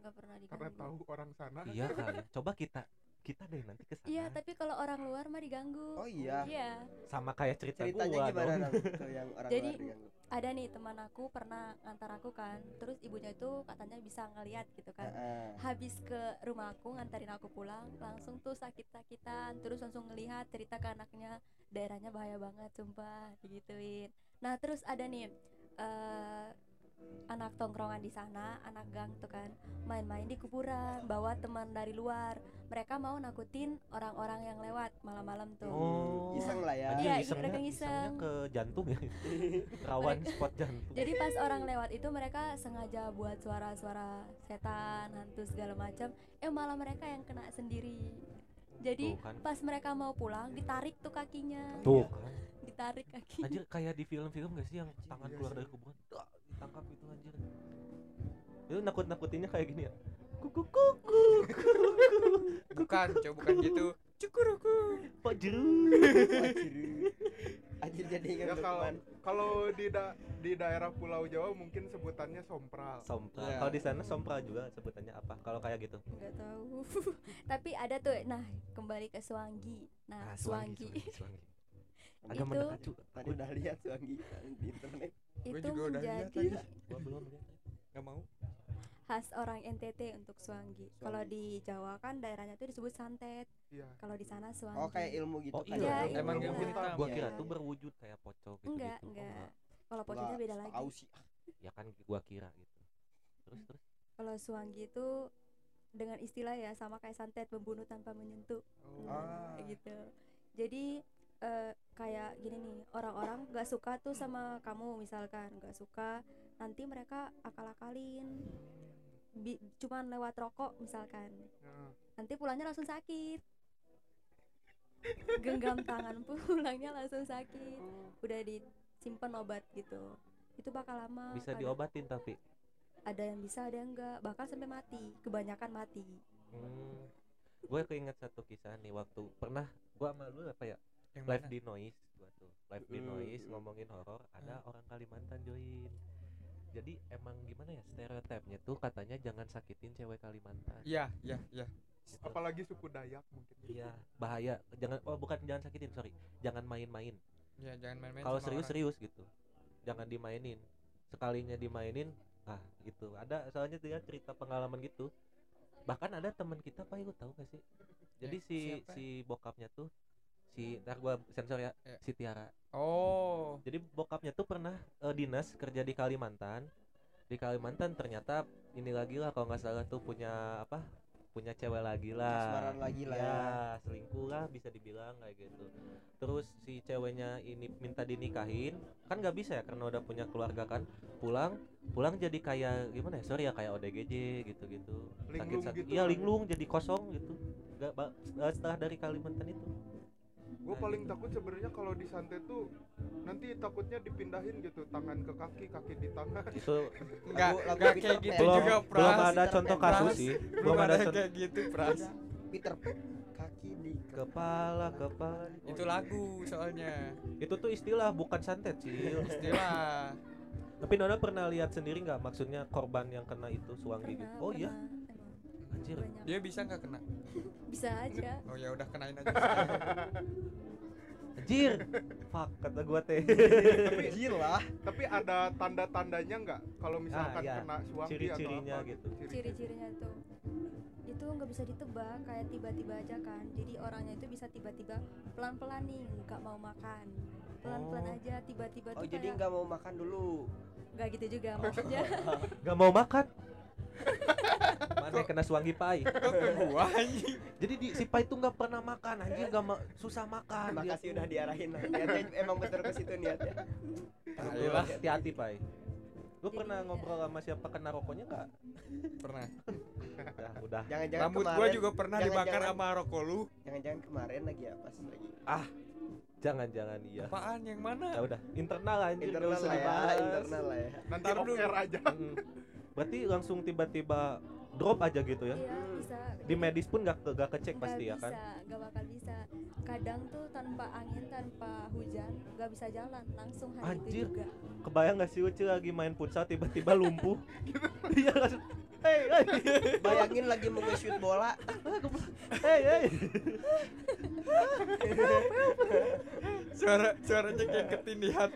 nggak pernah
karena
diganggu
tahu orang sana
iya kali coba kita kita deh nanti kesana
Iya, tapi kalau orang luar mah diganggu.
Oh iya.
Iya.
sama kayak cerita
Ceritanya
gua
gimana
dong.
Nang, tuh yang orang
Jadi,
luar diganggu?
Ada nih teman aku pernah ngantar aku kan. Terus ibunya itu katanya bisa ngeliat gitu kan.
Heeh.
Habis ke rumah aku nganterin aku pulang, langsung tuh sakit-sakitan, terus langsung ngelihat cerita ke anaknya, daerahnya bahaya banget sumpah digituin. Nah, terus ada nih eh anak tongkrongan di sana, anak gang tuh kan main-main di kuburan, bawa teman dari luar. Mereka mau nakutin orang-orang yang lewat malam-malam tuh.
Oh.
Iseng lah ya.
Iya,
Anjing,
itu mereka
isengnya-
ngiseng.
isengnya ke jantung
[laughs]
ya. Rawan spot jantung.
Jadi pas orang lewat itu mereka sengaja buat suara-suara setan, hantu segala macam. Eh malah mereka yang kena sendiri. Jadi
Tuh kan.
pas mereka mau pulang ditarik tuh kakinya, Iya,
Tuh kan.
ditarik kaki. [laughs]
Anjir kayak di film-film gak sih yang
Anjing,
tangan
iya
keluar
sih.
dari kuburan Dah, ditangkap itu anjir. Itu nakut-nakutinnya kayak gini ya. Kuku kuku
bukan coba bukan gitu cukuruku
Pak Jeru.
[laughs] Anjir jadi ingat
ya kalau
Lukman.
kalau di da- di daerah Pulau Jawa mungkin sebutannya sompral
Sompral.
Iya.
Kalau di sana sompral juga sebutannya apa? Kalau kayak gitu.
Enggak tahu. [laughs] Tapi ada tuh. Nah, kembali ke Suwangi.
Ah,
Nah, Suwangi. [laughs] Gitu.
suangi.
Itu-
Agak mendekat juga.
Tadi udah lihat tuh Anggi di internet.
[laughs]
Gua
itu
juga udah lihat
menjadi
lagi.
Gua belum lihat.
nggak mau
khas orang NTT untuk Suwangi. Kalau di Jawa kan daerahnya tuh disebut santet.
iya
Kalau di sana Suwangi.
Oh kayak ilmu gitu
Oh
kan.
Iya,
iya,
iya,
Emang
iya.
ilmu hitam.
Gua
Iya,
kira
iya.
tuh berwujud kayak pocong gitu.
Enggak, enggak. Kalau pocongnya beda lagi.
Tahu sih.
Ya kan gua kira gitu. Terus terus
Kalau suangi itu dengan istilah ya sama kayak santet membunuh tanpa menyentuh
Oh.
Ah.
Kayak gitu. Jadi eh, kayak gini nih orang-orang nggak suka tuh sama kamu misalkan nggak suka nanti mereka akal-akalin Bi- cuman lewat rokok misalkan
Nah,
nanti pulangnya langsung sakit genggam tangan [laughs] pulangnya langsung sakit udah disimpan obat gitu itu bakal lama
bisa
kadang-
diobatin tapi
ada yang bisa ada yang enggak bahkan sampai mati kebanyakan mati
Hmm. Gue keinget satu kisah nih waktu pernah gue sama lu apa ya
yang
live
mana? Hmm,
di noise gua tuh live di
Mm,
noise
mm.
ngomongin horor ada orang Kalimantan join jadi emang gimana ya stereotipnya tuh katanya jangan sakitin cewek Kalimantan
iya iya iya
gitu.
apalagi suku Dayak mungkin
iya bahaya jangan oh bukan jangan sakitin sorry jangan main-main
iya jangan main-main
kalau
sama
serius
orang.
serius gitu jangan dimainin sekalinya dimainin ah gitu ada soalnya dia cerita pengalaman gitu bahkan ada teman kita pak ikut tahu gak sih jadi
Ya,
si
siapa?
si bokapnya tuh si ntar gua sensor ya
Ya.
si Tiara
oh
jadi bokapnya tuh pernah eh, dinas kerja di Kalimantan di Kalimantan ternyata ini lagi lah kalau nggak salah tuh punya apa punya cewek lagi lah
Asmaran lagi lah
ya
ya.
selingkuh lah bisa dibilang kayak gitu terus si ceweknya ini minta dinikahin kan nggak bisa ya karena udah punya keluarga kan pulang pulang jadi kayak gimana ya sorry ya kayak ODGJ gitu gitu
Linglung gitu
iya
kan.
linglung jadi kosong gitu nggak ba- setelah dari Kalimantan itu
gue paling takut sebenarnya kalau disantet tuh nanti takutnya dipindahin gitu tangan ke kaki kaki di tangan [laughs]
[laughs]
itu
Enggak,
Lagu- lagu
enggak kayak
Peter
gitu
Pan.
belum
juga Pras
belum ada
Peter
contoh
Pan.
kasus
Pras. [laughs]
sih
Belum ada
contoh-
kayak gitu Pras
Peter Pan kaki di
kepala kepala
Itu lagu soalnya
itu tuh istilah bukan santet
[laughs]
sih
Istilah
tapi Nona pernah lihat sendiri nggak maksudnya korban yang kena itu suwangi gitu
pernah
oh iya
pernah, emang
anjir
banyak
Dia bisa nggak kena?
bisa aja
Oh ya udah kenain aja [laughs]
anjir fuck kata gua teh
Iya, [laughs]
tapi
Gila.
tapi ada tanda tandanya nggak kalau misalkan
iya.
kena suami
Ciri-cirinya
atau apa
gitu.
ciri-cirinya tuh itu nggak bisa ditebak kayak tiba-tiba aja kan jadi orangnya itu bisa tiba-tiba pelan-pelan nih nggak mau makan pelan-pelan
Oh.
aja tiba-tiba
Oh
tuh
jadi
kayak
nggak mau makan dulu.
nggak gitu juga
[laughs]
maksudnya
nggak mau makan mana yang kena suwangi pai
Kok ke gua anjing
jadi di, si pai tuh nggak pernah makan anjir nggak ma- susah makan gitu. dia
Makasih udah diarahin. lah. Niatnya emang bener ke situ niatnya.
tuh.
Ayolah.
hati-hati pai lu
Jadi,
Iya.
pernah
ya.
ngobrol sama siapa kena rokoknya nggak
Pernah
Udah, udah
Jangan-jangan
Rambut
kemarin.
gua juga pernah
jangan-
dibakar
jangan.
sama rokok lu
Jangan-jangan kemarin lagi ya pas lagi.
jangan-jangan iya
Apaan yang
ya
mana?
udah internal anjir nggak
Internal
usah
lah ya,
dibahas.
internal lah ya.
nanti
Ntar
off
dulu.
air aja
Mm-mm. berarti langsung tiba-tiba drop aja gitu ya
iya bisa
di medis pun nggak nggak kecek
Nggak
pasti ya kan
bisa nggak bakal bisa kadang tuh tanpa angin tanpa hujan nggak bisa jalan langsung hari
Anjir.
itu juga
Kebayang gak sih Ucu lagi main futsal tiba-tiba
[laughs]
lumpuh?
Gitu.
Iya langsung. Hei, hei,
Bayangin lagi mau nge-shoot bola.
hei, hei.
suara suaranya kayak ketindihan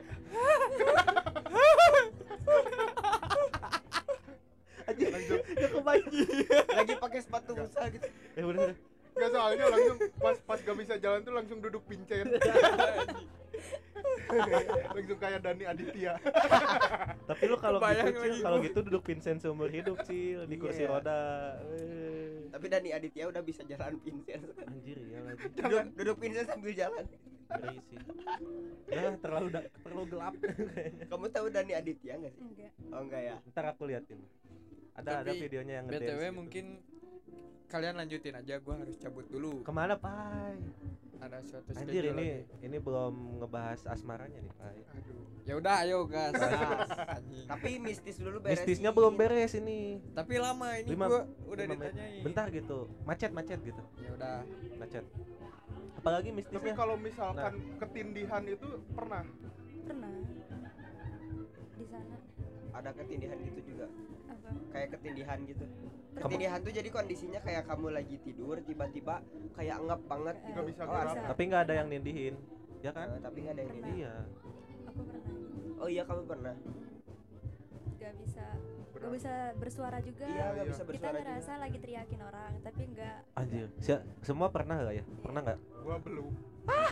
[laughs]
Anjir,
Lanjut.
gak kebayang.
Lagi pakai sepatu futsal gitu.
Ya udah.
Gak soalnya langsung pas pas gak bisa jalan tuh langsung duduk pincet. [laughs] langsung kayak Dani Aditya.
Tapi lu kalau
Kebayang
gitu, Cil,
lagi
kalau
gua.
gitu duduk Vincent seumur hidup, Cil, di kursi
Iya.
roda.
Tapi Dani Aditya udah bisa jalan pinsen.
Anjir,
ya,
iya lagi.
Duduk, duduk pinsen sambil jalan.
Ngeri sih. Ya, terlalu da- terlalu gelap. [laughs]
Kamu tahu Dani Aditya nggak sih?
enggak
Oh enggak ya.
Ntar aku liatin. Ada ada
Tapi,
videonya yang ngedance
btw
gitu.
mungkin kalian lanjutin aja gua harus cabut dulu
kemana pai
ada suatu
anjir
schedule
ini
lagi.
ini belum ngebahas asmaranya nih pai
Aduh.
ya udah ayo gas
Gas.
Anjing.
Tapi mistis dulu beresin.
mistisnya belum beres ini
tapi lama ini
Lima-
gua udah
Lima menit.
ditanyain
bentar gitu macet macet gitu
ya udah
macet apalagi
Tapi
mistisnya
kalau
Nah.
misalkan ketindihan itu pernah
pernah di sana
Ada ketindihan gitu juga.
apa
Kayak ketindihan gitu.
Kamu-
Ketindihan tuh jadi kondisinya kayak kamu lagi tidur tiba-tiba kayak ngap banget
Nggak
gitu.
bisa
oh,
gerak.
ada.
tapi nggak ada yang nindihin ya kan
Eh, tapi nggak ada yang
Pernah.
ini.
iya
aku pernah
Oh iya kamu pernah.
nggak bisa nggak
berat.
bisa bersuara juga
Iya nggak
iya.
bisa
kita
bersuara
ngerasa
juga.
lagi teriakin orang tapi enggak
anjir Si- semua pernah nggak ya pernah nggak
Gua belum.
gua
Gua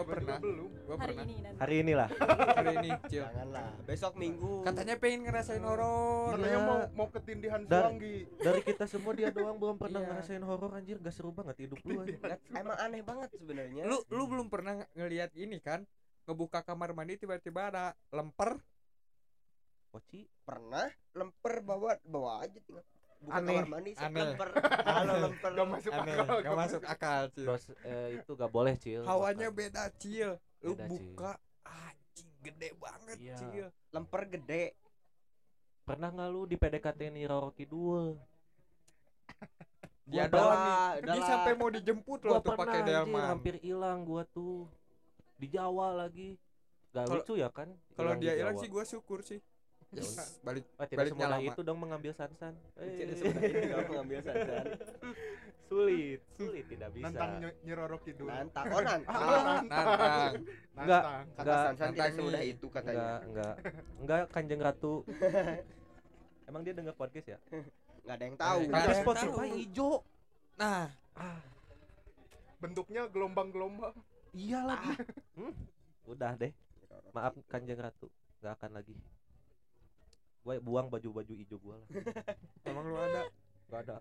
juga
pernah
belum.
Iya.
gua
hari
pernah
ini nanti
Oh, hari inilah
hari ini cil
Janganlah. Besok minggu.
katanya pengen ngerasain horor
Katanya
Iya.
mau mau ketindihan
Dan-
selanggi.
dari kita semua dia doang belum pernah
Iya.
ngerasain horor anjir gak seru banget hidup lu
[laughs]
anjir.
Nggak- emang aneh banget sebenarnya.
lu lu belum pernah ngelihat ini kan ngebuka kamar mandi tiba-tiba ada lemper
poci
pernah lemper bawa bawa aja tinggal buka
Aneh.
kamar mandi set
Aneh.
lemper halo lemper
Gak masuk
aneh
akal.
gak masuk akal cil
Dos, eh, itu gak boleh cil
hawanya beda cil lu
Beda, Cil.
buka anjing gede banget
Iya.
cil
lemper gede
pernah nggak lu di PDKT ini Roro Kidul
dia
Gua
doang
doang,
nih dia
doang.
sampai mau dijemput loh
gua
tuh
pernah
pakai
anjir,
delman
hampir hilang gua tuh di Jawa lagi gak
Kalau-
lucu ya kan
kalau
di
dia hilang
Jawa.
sih gua syukur sih Yes,
Ya
[laughs]
udah.
balik
Ah, tidak
baliknya
semudah
lama.
itu dong mengambil sansan Eh,
jadi sebenarnya
[laughs]
kalau ngambil sadar
sulit sulit tidak bisa Nah,
Nantang Ny- Nyiroro Kidul.
nantang oh nantang
Ah,
nantang
Nantang.
kata
Nggak,
Sansan tidak
nantangin.
semudah itu katanya
enggak enggak enggak kanjeng
[laughs]
ratu emang dia dengar podcast ya
nggak ada yang tahu
Nggak
tapi
ada yang
Spotify
tahu.
hijau
nah
ah
Bentuknya gelombang-gelombang.
iya lagi Hmm, udah deh maaf kanjeng ratu nggak akan lagi gue buang baju-baju hijau gue lah
[laughs] emang lu ada
nggak
[laughs]
ada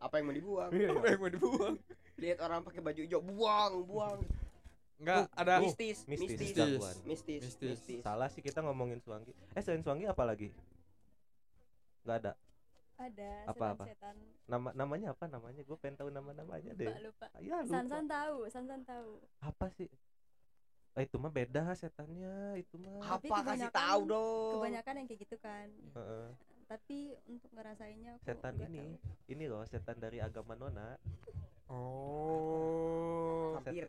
apa yang mau dibuang
apa yang mau dibuang
lihat orang pakai baju hijau buang buang
enggak
Oh,
ada
mistis
mistis,
mistis
gangguan.
mistis
Mistis.
mistis
salah sih kita ngomongin suangki eh selain suangki apa lagi nggak ada
ada
Apa-apa?
setan-setan
nama namanya apa namanya gue pengen tahu nama namanya deh
mbak lupa
ya lupa.
Sansan tahu Sansan tahu
apa sih Ah, itu mah beda setannya itu mah
Tapi
apa kasih
kebanyakan-
tahu
Oh.
dong
kebanyakan yang kayak gitu kan
Heeh.
tapi untuk ngerasainnya aku
Iya. setan
nggak
ini
tahu.
ini loh setan dari agama nona
oh
vampir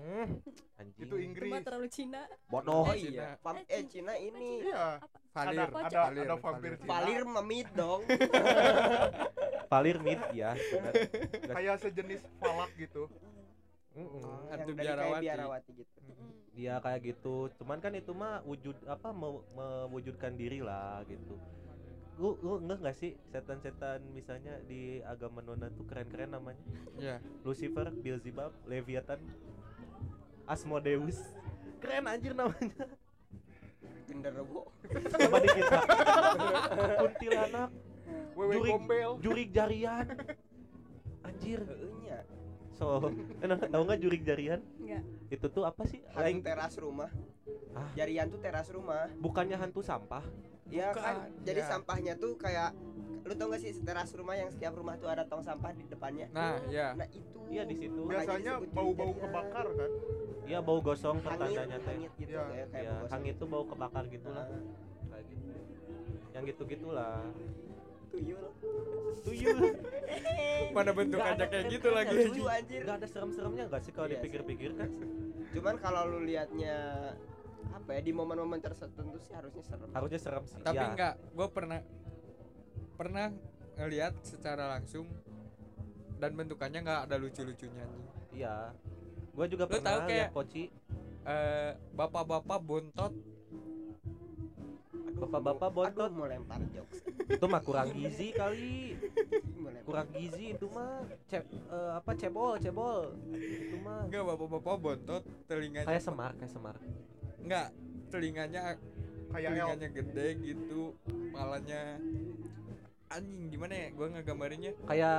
Hmm, anjing
Itu
itu mah
Inggris.
terlalu Cina
bodoh
oh
Cina.
iya Vamp- eh Cina ini
Iya.
valir
Ada ada
valir,
ada vampir
valir.
Cina.
Valir memit dong
palir mid ya benar.
Kayak sejenis falak gitu.
Mm-mm.
yang
Hantu
dari kayak
biarawati.
biarawati gitu
dia kayak gitu cuman kan itu mah wujud apa me- mewujudkan diri lah gitu lu lu ngeh nggak sih setan-setan misalnya di agama nona tuh keren-keren namanya
Iya.
Lucifer Beelzebub Leviathan Asmodeus keren anjir namanya
genderuwo
coba dikit lah kuntilanak
Wewe
Jurik.
gombel.
jurik jarian anjir
Heunya.
so [laughs] enak tau nggak jurik jarian
Nggak.
itu tuh apa sih
Hantu
Lain-
teras rumah.
Hah?
Jarian tuh teras rumah.
bukannya hantu sampah
Ya
Bukan,
kan. Jadi
ya.
sampahnya tuh kayak lu tau gak sih teras rumah yang setiap rumah tuh ada tong sampah di depannya.
Oh.
nah ya
Nah, itu.
iya di situ
Biasanya
disebut
bau-bau
jarian.
kebakar kan.
iya bau gosong
Hangit,
pertandanya teh
hangit gitu
Ya,
kayak kayak
ya,
bau
hang itu bau kebakar gitulah
Nah,
kayak gitu. yang gitu gitulah
tuyul.
tuyul
mana bentukannya
Nggak ada
kayak
keren-
gitu
keren,
lagi
nggak
Lucu anjir.
Gak ada serem-seremnya gak sih kalau
Iya sih.
dipikir-pikir kan?
Cuman kalau lu liatnya apa ya di momen-momen tertentu sih harusnya serem.
Harusnya serem sih.
tapi
ya.
enggak gue pernah pernah ngelihat secara langsung dan bentukannya nggak ada lucu-lucunya anjing.
Iya. Gue juga
Lu tahu
pernah lihat
kayak-
poci
Eh, bapak-bapak bontot
Aduh,
Bapak-bapak
mau- aduh,
bontot.
mau lempar jokes.
itu mah kurang gizi kali.
Mau lempar.
Kurang gizi itu mah ce eh, apa cebol cebol itu mah.
enggak bapak-bapak bontot telinganya
Kayak semar kayak semar.
enggak telinganya
kayak El
telinganya gede gitu malanya anjing gimana ya gue ngegambarinnya
Kayak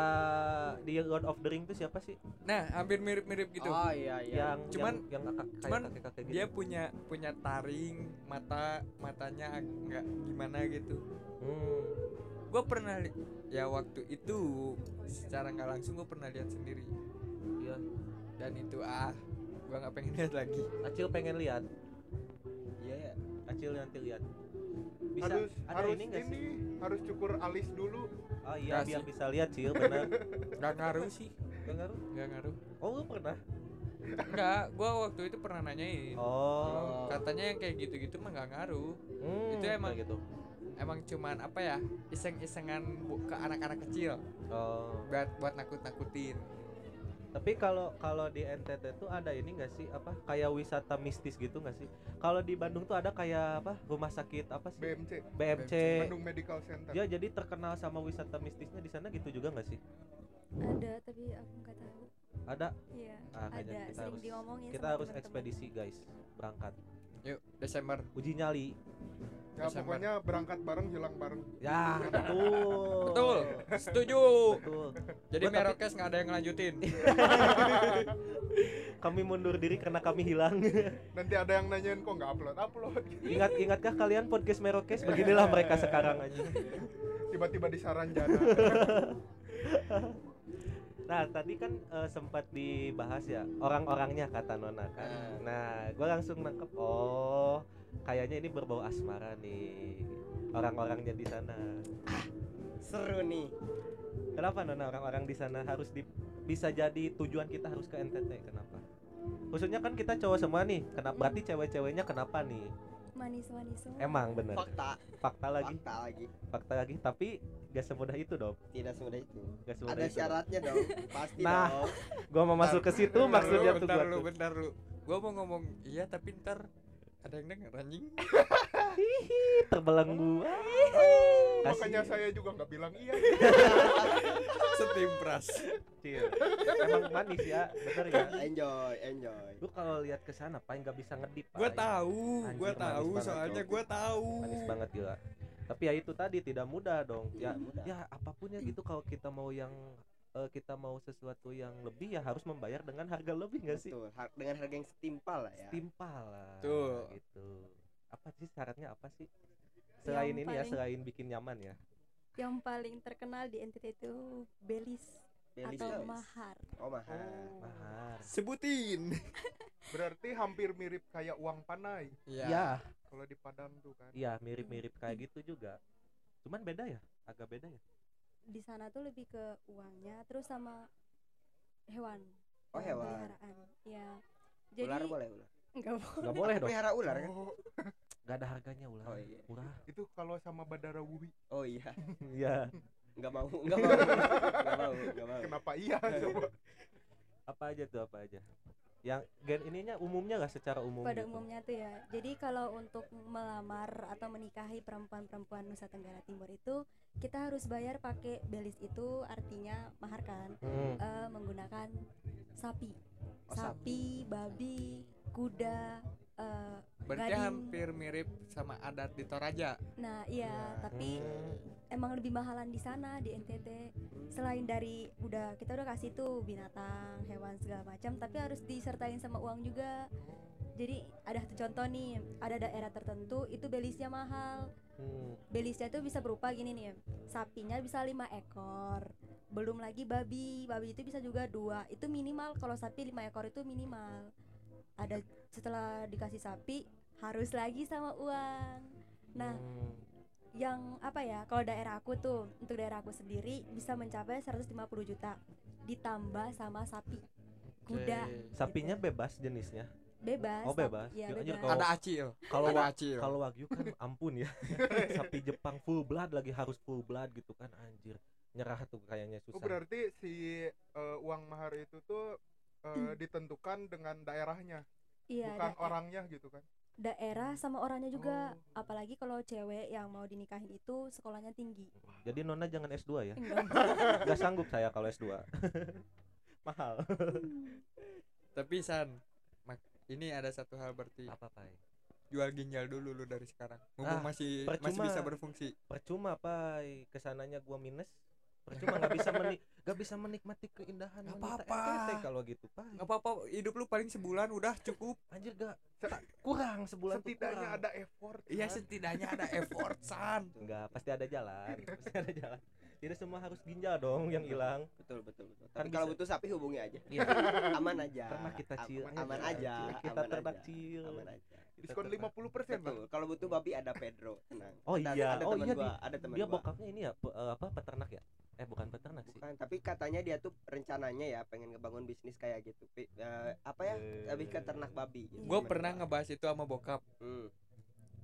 di Lord of the Ring tuh siapa sih?
nah hampir mirip-mirip gitu
Oh iya iya.
Yang
Cuman-
yang, yang kakak- kayak
cuman
kakek-kakek gitu.
dia punya punya taring mata matanya ag- nggak gimana gitu
Hmm.
gue pernah li- ya waktu itu secara nggak langsung gue pernah lihat sendiri
Iya.
dan itu ah gue nggak pengen lihat lagi
Acil pengen lihat.
Iya iya.
Acil nanti lihat. Bisa
harus
ada
harus
ini
ini,
nggak sih?
harus cukur alis dulu
Oh iya
Nggak
biar
sih.
bisa lihat Cil [laughs] benar. Iya
nggak ngaruh sih
Nggak ngaruh.
nggak ngaruh
Oh lu pernah?
nggak gue waktu itu pernah nanyain
Oh.
katanya yang kayak gitu-gitu mah nggak ngaruh
Hmm,
Itu emang-
kayak gitu.
emang cuman apa ya iseng-isengan bu- ke anak-anak kecil
Oh.
buat buat nakut-nakutin
Tapi kalau kalau di NTT tuh ada ini nggak sih apa kayak wisata mistis gitu nggak sih? Kalau di Bandung tuh ada kayak apa rumah sakit apa sih?
BMC
BMC.
Bandung Medical Center
Dia jadi terkenal sama wisata mistisnya di sana gitu juga nggak sih?
ada tapi aku nggak tahu
Ada.
iya
Ah,
ada
kayaknya kita
sering
harus
diomongin
kita
sama
harus
teman-teman.
ekspedisi guys berangkat
yuk Desember
uji nyali
ya
Desember.
pokoknya berangkat bareng hilang bareng
[laughs]
ya betul
betul setuju
betul
jadi
Gua Oh. tapi-
merokes nggak ada yang lanjutin
kami mundur diri karena kami hilang [laughs]
nanti ada yang nanyain kok nggak upload upload
ingat ingatkah kalian podcast merokes beginilah mereka sekarang aja
[laughs] tiba-tiba di
[laughs]
Saranjana
Nah, tadi kan eh, sempat dibahas ya orang-orangnya kata Nona kan.
Eh.
Nah, gua langsung nangkep oh, kayaknya ini berbau asmara nih orang-orangnya di sana.
Seru nih.
Kenapa Nona orang-orang di sana harus di bisa jadi tujuan kita harus ke NTT kenapa? Khususnya kan kita cowok semua nih. Kenapa berarti cewek-ceweknya kenapa nih?
manis manis semua.
Emang bener.
Fakta,
Fakta lagi,
fakta lagi.
fakta lagi, tapi gak semudah itu, dong.
Tidak semudah itu.
Gak semudah
Ada
itu. Dom.
syaratnya dong. Pasti
Nah.
dong.
Gua mau masuk ke situ
Bentar
[laughs] maksudnya
lu,
tuh
bentar
gua
lu
tuh.
bentar lu gue mau ngomong iya tapi ntar ada yang denger anjing [laughs]
Hihi, terbelenggu. Ah, kasihan.
makanya saya juga nggak bilang iya
setimpras
Cil. Emang manis ya, bener ya.
Enjoy, enjoy.
Lu kalau lihat ke sana paling nggak bisa ngedip.
gue
Pak.
tahu
Anjir,
gue
manis
tahu
banget,
soalnya
Cok.
gue tahu
Manis banget gila. Tapi ya itu tadi tidak mudah dong. Ya
mudah.
ya apapun ya gitu kalau kita mau yang eh, kita mau sesuatu yang lebih ya harus membayar dengan harga lebih nggak sih?
Betul, har- dengan harga yang setimpal lah ya.
Setimpal lah.
Betul.
Gitu. Apa sih syaratnya apa sih? Selain ini
Yang
ya,
paling-
selain bikin nyaman ya.
yang paling terkenal di NTT itu belis,
Belis
atau
guys.
mahar
Oh, mahal.
Ah, Mahar.
sebutin
berarti hampir mirip kayak uang panai
Ya,
Iya,
kalau di Padang tuh kan
iya mirip-mirip kayak gitu juga. Cuman beda ya, agak beda ya.
di sana tuh lebih ke uangnya terus sama hewan
Oh,
hewan
hewan.
peliharaan ya jadi
Ular Oh, boleh ular.
nggak boleh
Gak boleh dong.
Pelihara ular kan?
Oh,
Gak ada harganya ulah.
Oh, iya.
Murah. [laughs]
itu kalau sama Badara Wuhi
Oh iya. [laughs]
Iya.
Enggak mau, enggak mau. Enggak mau, enggak mau.
kenapa iya [laughs] coba
apa aja tuh apa aja yang gen ininya umumnya nggak secara umum
pada
gitu.
umumnya tuh ya jadi kalau untuk melamar atau menikahi perempuan-perempuan Nusa Tenggara Timur itu kita harus bayar pakai belis itu artinya mahar kan
Hmm.
eh, menggunakan sapi
Oh,
sapi babi kuda eh,
berarti
Gading.
hampir mirip sama adat di Toraja
nah iya
Ya,
tapi
Hmm.
emang lebih mahalan di sana di NTT selain dari udah kita udah kasih tuh binatang hewan segala macam tapi harus disertain sama uang juga jadi ada satu contoh nih ada daerah tertentu itu belisnya mahal
Hmm.
belisnya itu bisa berupa gini nih sapinya bisa lima ekor belum lagi babi babi itu bisa juga dua itu minimal kalau sapi lima ekor itu minimal ada setelah dikasih sapi harus lagi sama uang nah
Hmm.
yang apa ya kalau daerah aku tuh untuk daerah aku sendiri bisa mencapai 150 juta ditambah sama sapi kuda
Sapinya bebas jenisnya.
bebas
Oh,
sapi-
bebas.
ya,
Yuk, anjir,
bebas.
kalau-
ada acil
Kalau
ada
wa-
acil
kalau wagyu kan ampun ya. Sapi Jepang full blood lagi harus full blood gitu kan anjir. Nyerah tuh kayaknya
Oh,
susah.
berarti si eh, uang mahar itu tuh eh, ditentukan dengan daerahnya,
iya
bukan
da-
orangnya gitu kan.
daerah sama orangnya juga
Oh.
apalagi kalau cewek yang mau dinikahin itu sekolahnya tinggi
Jadi Nona jangan S2
[laughs]
ya.
Enggak.
[laughs] Gak sanggup saya kalau S2 Mahal
tapi san mak- ini ada satu hal berarti
Apa Pai?
jual ginjal dulu lu dari sekarang mumpung
Ah,
masih masih
percuma.
bisa berfungsi
Percuma Pai Kesananya gua minus Percuma gak bisa menik gak bisa menikmati keindahan
Nggak
wanita
apa-apa.
NTT kalau gitu Pai
nggak apa-apa hidup lu paling sebulan udah cukup
Anjir gak
Se-
Kurang sebulan tuh
Setidaknya
kurang.
ada effort.
iya
kan?
setidaknya ada effort san [laughs]
Enggak pasti ada jalan Pasti ada jalan Tidak semua harus ginjal dong yang hilang
betul betul betul
Kan
tapi kalau
bisa.
butuh sapi hubungi
[laughs]
aja
Iya
aman aja
Pernah kita
Am-
cil
aman aja
Kita
aman aja,
terdakcil
aman aja
Diskon 50% bang.
betul kalau butuh babi ada Pedro tenang
Oh
Ada-
iya,
ada
oh
teman
iya,
gua ada teman
Dia
gua
bokapnya ini ya pe- eh, Apa peternak ya Eh bukan peternak sih
Bukan, tapi katanya dia tuh rencananya ya pengen ngebangun bisnis kayak gitu Pi- eh, apa ya lebih ke ternak
Eh,
babi gitu.
gue
Temen
pernah
gua.
ngebahas itu sama bokap
Hmm.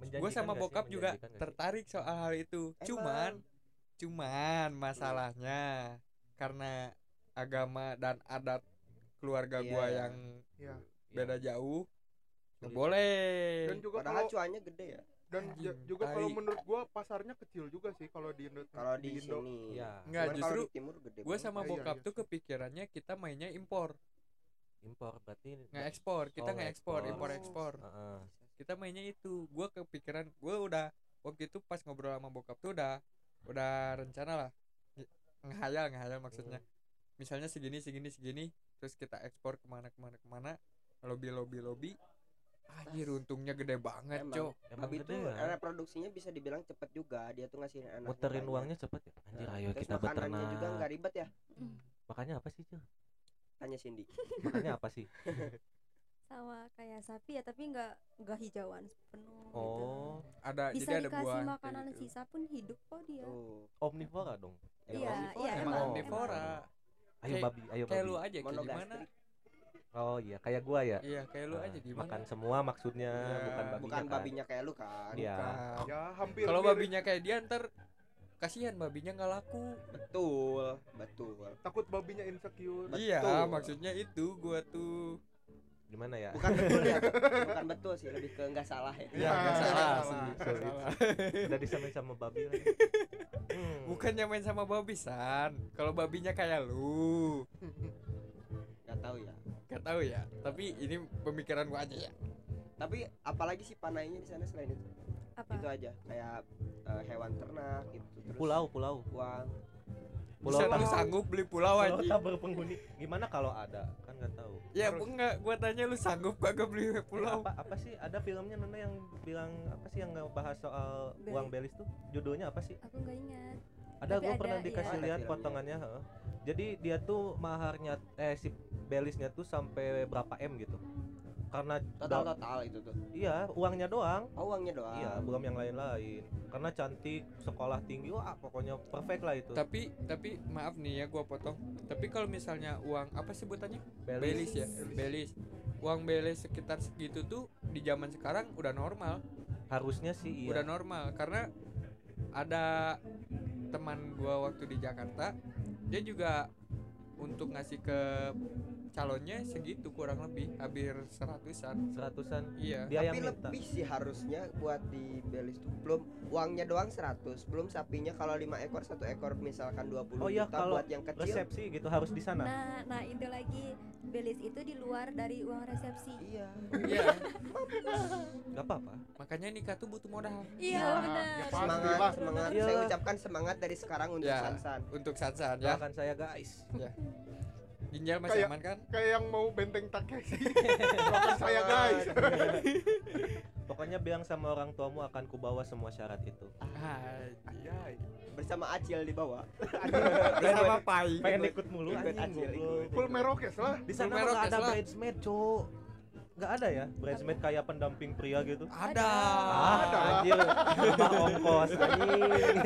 gue sama bokap juga tertarik soal hal itu cuman
Emang.
cuman masalahnya karena agama dan adat keluarga
Iya,
gua
iya.
yang
Iya.
beda jauh nggak
Sulit.
boleh
Dan juga
padahal
kalau
cuannya gede ya
dan
Anjing,
ju- juga kalau
tai.
menurut gua pasarnya kecil juga sih kalau di Indo.
kalau di,
Indo.
sini
Iya
Nggak,
Cuman kalau
justru
di timur gede
gue
banget.
sama
Iya,
bokap
iya.
tuh kepikirannya kita mainnya impor
Impor berarti
nggak ekspor kita
Oh,
nggak ekspor
ekspor.
impor ekspor
Heeh.
kita mainnya itu gue kepikiran gue udah waktu itu pas ngobrol sama bokap tuh udah udah rencana lah Nge- ngehayal ngehayal maksudnya misalnya segini segini segini terus kita ekspor kemana kemana kemana lobby lobby lobby anjir untungnya gede banget
Emang.
cok
Emang
babi
gede
tuh
ya?
reproduksinya bisa dibilang cepet juga dia tuh ngasihin anak
muterin uangnya cepet ya anjir ayo kita
Nah, makanannya
beternak
juga nggak ribet ya
makanya apa sih Cil?
tanya Cindy
makanya apa
[laughs]
sih
sama kayak sapi ya tapi nggak nggak hijauan penuh
oh
ada
gitu. bisa
jadi ada
dikasih
buah gitu.
makanan sisa pun hidup kok dia
tuh
omnivora dong
Emang
Oh,
Iya,
omnivora.
iya,
emang
emang.
omnivora
ayo
Kayak-
babi ayo
kayak
babi
lu aja kayak gimana
monogastrik
Iya oh iya kayak gua ya
iya kayak lu
Ah,
aja gimana
makan semua maksudnya
Iya,
bukan babinya
bukan
kan?
babinya kayak lu kan
Iya.
Bukan.
Ya hampir.
kalau
mirip.
babinya kayak dia ntar kasihan babinya nggak laku
betul
Iya.
betul
takut babinya insecure.
Betul.
iya maksudnya itu gua tuh
gimana ya
bukan betul
[laughs]
ya bukan betul sih lebih ke nggak salah ya
ya nggak
Ah,
salah
salah,
sih,
Iya, salah.
salah.
udah disamain sama babi lagi Hmm.
Bukannya main sama babi San Kalau babinya kayak lu
nggak tahu ya
Gak tahu ya Tapi ini pemikiran gua aja ya
tapi apalagi sih panainya di sana selain itu
apa
itu aja kayak eh, hewan ternak gitu terus
pulau pulau
uang
pulau
Bisa Oh,
tak
lu sanggup beli pulau
pulau
aja
tak berpenghuni gimana kalau ada kan nggak tahu
Ya enggak Gua tanya lu sanggup kagak beli pulau
apa apa sih ada filmnya Nona yang bilang apa sih yang bahas soal
Belis.
uang belis tuh judulnya apa sih
aku nggak ingat
ada
Tapi
gue
ada,
pernah
iya.
dikasih
Ada
lihat
filmnya.
potongannya heeh. jadi dia tuh maharnya eh si belisnya tuh sampai berapa m gitu karena
total
da-
total itu tuh
iya uangnya doang
oh, uangnya doang
iya belum yang lain-lain karena cantik sekolah tinggi wah pokoknya perfect lah itu
Tapi tapi maaf nih ya gua potong Tapi kalau misalnya uang apa sebutannya
belis
Belis ya Belis Uang belis sekitar segitu tuh Di zaman sekarang udah normal
harusnya sih
Udah
iya
normal Karena ada teman gua waktu di Jakarta Dia juga untuk ngasih ke calonnya segitu kurang lebih hampir seratusan
seratusan
iya
dia yang
tapi
minta
lebih sih harusnya buat di belis tuh belum uangnya doang 100 belum sapinya kalau lima ekor satu ekor misalkan 20
Oh
juta
iya, kalau
buat yang kecil
resepsi gitu harus di sana
nah nah itu lagi belis itu di luar dari uang resepsi
iya
iya
nggak apa-apa
makanya nikah tuh butuh modal
iya
Ya,
benar
ya pasti
semangat
lah.
semangat
Iya.
saya ucapkan semangat dari sekarang untuk
Ya.
Sansan
untuk sansan ya
doakan saya guys
ginjal masih
Kayak-
aman kan
Kayak yang mau benteng Takeshi. Doakan saya guys.
Pokoknya bilang sama orang tuamu akan kubawa semua syarat itu.
Hai.
Anjay.
bersama Acil di bawah
bersama pai
Pengen ikut mulu
ikut
anjing
anjir,
goblok.
ikut.
Full merokes lah.
Di
Full
sana mah nggak
merokes
ada
lah.
bridesmaid, Cuk. nggak ada ya bridesmaid kayak pendamping pria gitu
Ada.
ah anjir tambah ongkos anjing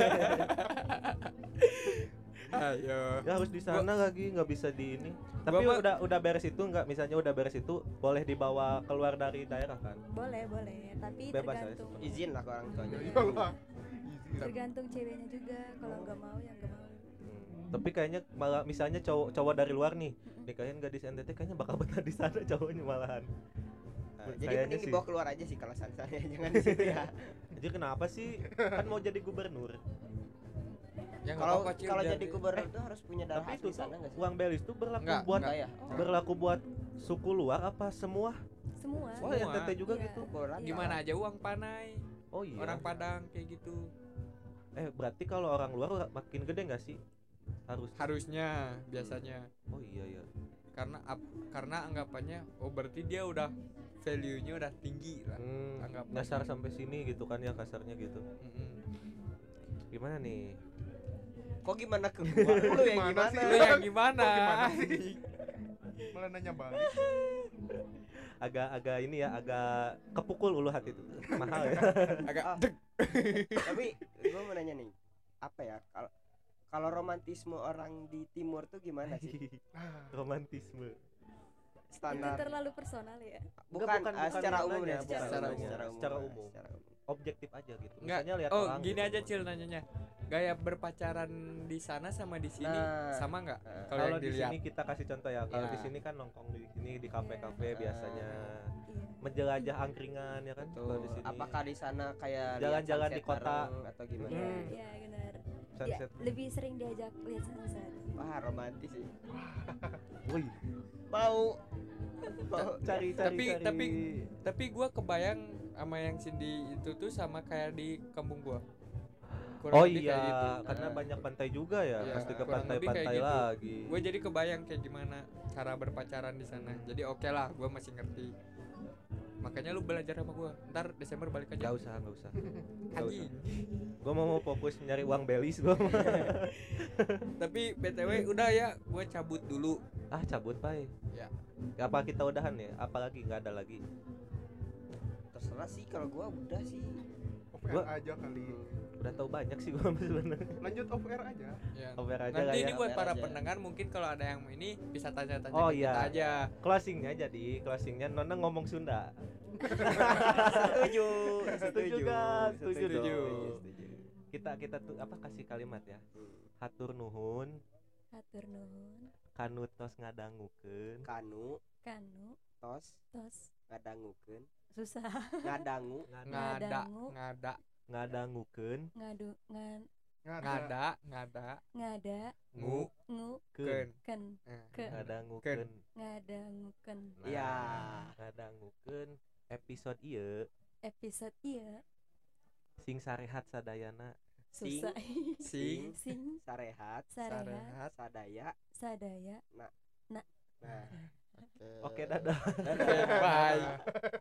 Iya, Ayo.
ya harus di sana lagi nggak bisa di ini tapi
Gua mah-
udah udah beres itu nggak misalnya udah beres itu boleh dibawa keluar dari daerah kan
boleh boleh tapi
Bebas aja
tergantung
sih.
izin lah ke orang tuanya
Ya Iyalah.
tergantung ceweknya juga kalau nggak mau ya nggak mau
Hmm. tapi kayaknya malah misalnya cowok cowok dari luar nih
Hmm.
Mm-mm.
nikahin gadis NTT kayaknya bakal betah di sana cowoknya malahan
Nah, jadi
Kayaknya
mending
sih.
dibawa keluar aja sih kalau saran saya jangan di situ ya [laughs]
jadi kenapa sih kan mau jadi gubernur
Yang
kalau kalau jadi
Eh,
gubernur tuh harus punya darah
tapi
asli
itu tuh
sana nggak sih
uang belis tuh berlaku
Nggak,
buat
enggak ya
Oh,
berlaku buat suku luar apa semua
semua
wah
Semua.
NTT juga
Iya.
gitu
Ukuran
Iya.
gimana aja uang panai,
oh iya
orang Padang kayak gitu.
eh berarti kalau orang luar makin gede nggak sih harus
Harusnya biasanya
oh iya iya
karena ap- karena anggapannya oh berarti dia udah value-nya udah tinggi lah.
Hmm,
Anggap.
nyasar sampai sini gitu kan ya kasarnya gitu
Mm-mm.
gimana nih
kok gimana ke gua lu yang
Gimana
gimana
sih?
Lu yang gimana?
Oh,
Kok gimana sih? Malah nanya balik.
agak agak ini ya agak kepukul ulu hati itu mahal ya
Agak
Ah.
deg.
tapi gua mau nanya nih apa ya kalau kalau romantisme orang di timur tuh gimana
[laughs]
sih
romantisme
itu
standar
terlalu personal ya
bukan,
bukan-
eh,
bukan
secara
nanya,
umum ya
bukan
secara,
nanya,
umum secara umum
secara
eh,
umum.
secara umum.
objektif aja gitu
Nggak.
misalnya lihat
[laughs] Oh,
orang
gini
gitu.
aja Cil nanyanya. Gaya berpacaran di sana sama di sini
Nah.
sama nggak? Kalau
Eh,
yang
kalau di
dilihat.
sini kita kasih contoh ya kalau
Ya.
di sini kan nongkrong di sini di kafe-kafe
Ya.
biasanya
iya
menjelajah angkringan ya kan kalau di
Tuh,
sini
apakah di sana kayak lihat
Jalan-jalan
sunset
di kota.
bareng atau gimana
Iya,
Hmm.
iya benar Ya,
sunset
lebih sering diajak lihat sunset
wah romantis sih
Woi,
mau mau
Oh, cari cari
Tapi-
cari.
tapi- Tapi gua kebayang sama yang Cindy itu tuh sama kayak di kampung gua. Kurang
oh
lebih
iya
kayak gitu.
karena
Nah.
banyak pantai juga ya
Iya,
pasti ke
kurang lebih kayak
pantai-pantai
gitu.
lagi
gue jadi kebayang kayak gimana cara berpacaran di sana jadi oke lah gue masih ngerti makanya lu belajar sama gue ntar Desember balik
Gak
aja
usah, gak usah. Gak
Haji.
usah. Gue mau mau fokus nyari uang belis gue.
[laughs] tapi btw udah ya gue cabut dulu
ah cabut pai.
Ya.
Apa kita udahan ya? Apalagi nggak ada lagi.
terserah sih kalau gua udah sih
Off air
Gua-
aja kali.
Udah tahu banyak sih gue sebenarnya.
Lanjut off air aja.
ya.
Over aja
nanti
lah
ini
ya.
buat
Biar
para
aja.
pendengar mungkin kalau ada yang ini bisa tanya-tanya
Oh,
ke
iya.
kita aja
Closingnya jadi closingnya Nona ngomong Sunda.
setuju
[laughs] Setuju, Kak. Setuju
Setuju.
dong. Kita kita tuh apa kasih kalimat ya? Hatur nuhun,
atur nuhun
kanut tos ngadangukeun.
kanu
kanu
tos
tos
ngadangukeun
susah
ngadangu
ngada
Ngadangu.
ngada
Ngadangukeun
ngadu ngan
Ngada.
ngada ngada
ngada
ngu
ngu
keun.
ken
Eh,
ke
Ngadangukeun.
ngadangukeun
Nah,
Iya.
Ngadangukeun episode ieu
episode iya
sing sarehat sadayana
Sing.
susah [laughs]
sing
sing
sarehat
sareha
sarehat
sadaya
sadaya
nah
oke dadah
Oke, bye